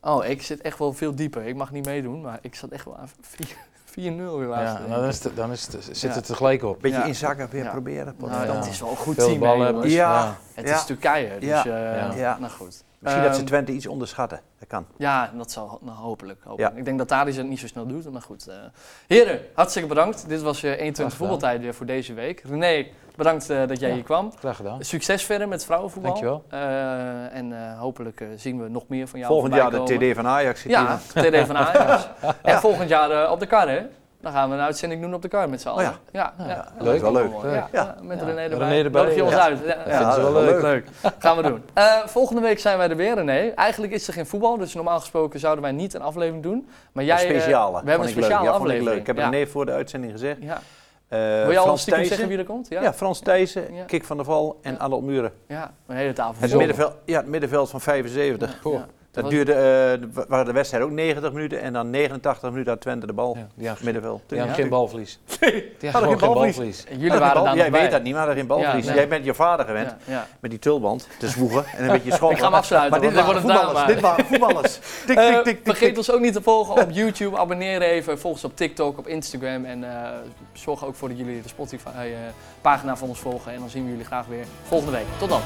A: Oh, ik zit echt wel veel dieper. Ik mag niet meedoen, maar ik zat echt wel aan 4 4-0 weer
C: Ja, nou,
A: laatst.
C: dan, is het, dan is het, zit
A: Ja.
C: het er gelijk op.
B: Beetje
A: Ja.
B: inzakken, weer
A: Ja.
B: proberen.
A: nou,
C: ja.
A: dat is wel een goed
C: Veel
A: team.
C: ballen
A: hè,
C: hebben
A: jongens.
B: ze. Ja.
A: Het
B: Ja.
A: is Turkije, dus
B: Ja.
A: ja.
C: Ja.
B: Ja.
A: nou goed.
B: Misschien dat ze
A: Ehm,
B: Twente iets onderschatten. Dat kan.
A: Ja, dat zal nou, hopelijk. hopelijk. Ik denk dat Thadis het niet zo snel doet, maar goed. eh. heren, hartstikke bedankt. Dit was je 21
C: Graag gedaan.
A: voetbaltijd weer voor deze week. René, bedankt eh, dat jij
C: Ja.
A: hier kwam.
C: Graag gedaan.
A: Succes verder met vrouwenvoetbal.
C: Dankjewel.
A: Eh, en eh, hopelijk eh, zien we nog meer van jou.
B: Volgend jaar
A: voorbij
B: de
A: komen.
B: TD van Ajax. zit hier
A: Ja,
B: dan.
A: TD van Ajax. En volgend jaar eh, op de kar, hè? Dan gaan we een uitzending doen op de kar met z'n allen.
B: Oh ja.
A: Ja, ja,
C: leuk. Dat is wel
B: leuk.
A: mooi. Ja,
B: Ja.
A: ja, met
C: Ja.
A: René erbij.
C: René erbij.
A: Nodig je ons
B: Ja.
A: uit. Ja,
B: Ja,
C: vinden ze wel
B: dat is
C: leuk.
A: Gaan we doen. Eh, volgende week zijn wij er weer, René. Eigenlijk is er geen voetbal, dus normaal gesproken zouden wij niet een aflevering doen. Maar jij...
B: Een
A: eh,
B: speciale.
A: we hebben een
B: Vond ik leuk.
A: speciale
B: ja, vond ik
A: aflevering.
B: leuk. Ik heb
A: ja.
B: het nee voor de uitzending gezegd.
A: Ja.
B: Eh,
A: Wil je al
B: Frans
A: stiekem
B: Thijssen.
A: zeggen wie er komt? Ja.
B: Ja,
A: ja.
B: Frans Thijssen,
A: Ja.
B: Kik van der Val en
A: Ja.
B: Adel Muren.
A: Een hele tafel.
B: Het
A: vol.
B: middenveld, ja, het middenveld van 75.
C: Goh,
A: Ja.
B: Dat
A: was-
B: duurde, eh, wa- waren de wedstrijd ook 90 minuten en dan 89 minuten had Twente de bal.
C: Ja, die hadden-
B: Middenveld.
C: die hadden geen balverlies. Die
B: hadden
C: hadden
B: geen
C: gewoon geen
B: balverlies.
C: balverlies.
A: En
B: Hadden
A: Jullie
B: geen
A: waren
B: bal-
A: daar
B: Jij
A: nog bij.
B: weet dat niet, maar hadden geen balverlies.
A: Ja, nee.
B: Jij bent je vader gewend
A: Ja, ja.
B: met die tulband te zwoegen en een beetje schoppen.
A: Ik ga hem afsluiten,
B: Maar dit
A: want
B: waren
A: dan wordt het
B: voetballers.
A: drama.
B: Dit waren voetballers. Tik,
A: Eh,
B: tik, tik, tik,
A: vergeet
B: tik.
A: ons ook niet te volgen op YouTube. Abonneer even. Volg ons op TikTok, op Instagram. En eh, zorg ook voor dat jullie de Spotify-pagina van ons volgen. En dan zien we jullie graag weer volgende week. Tot dan.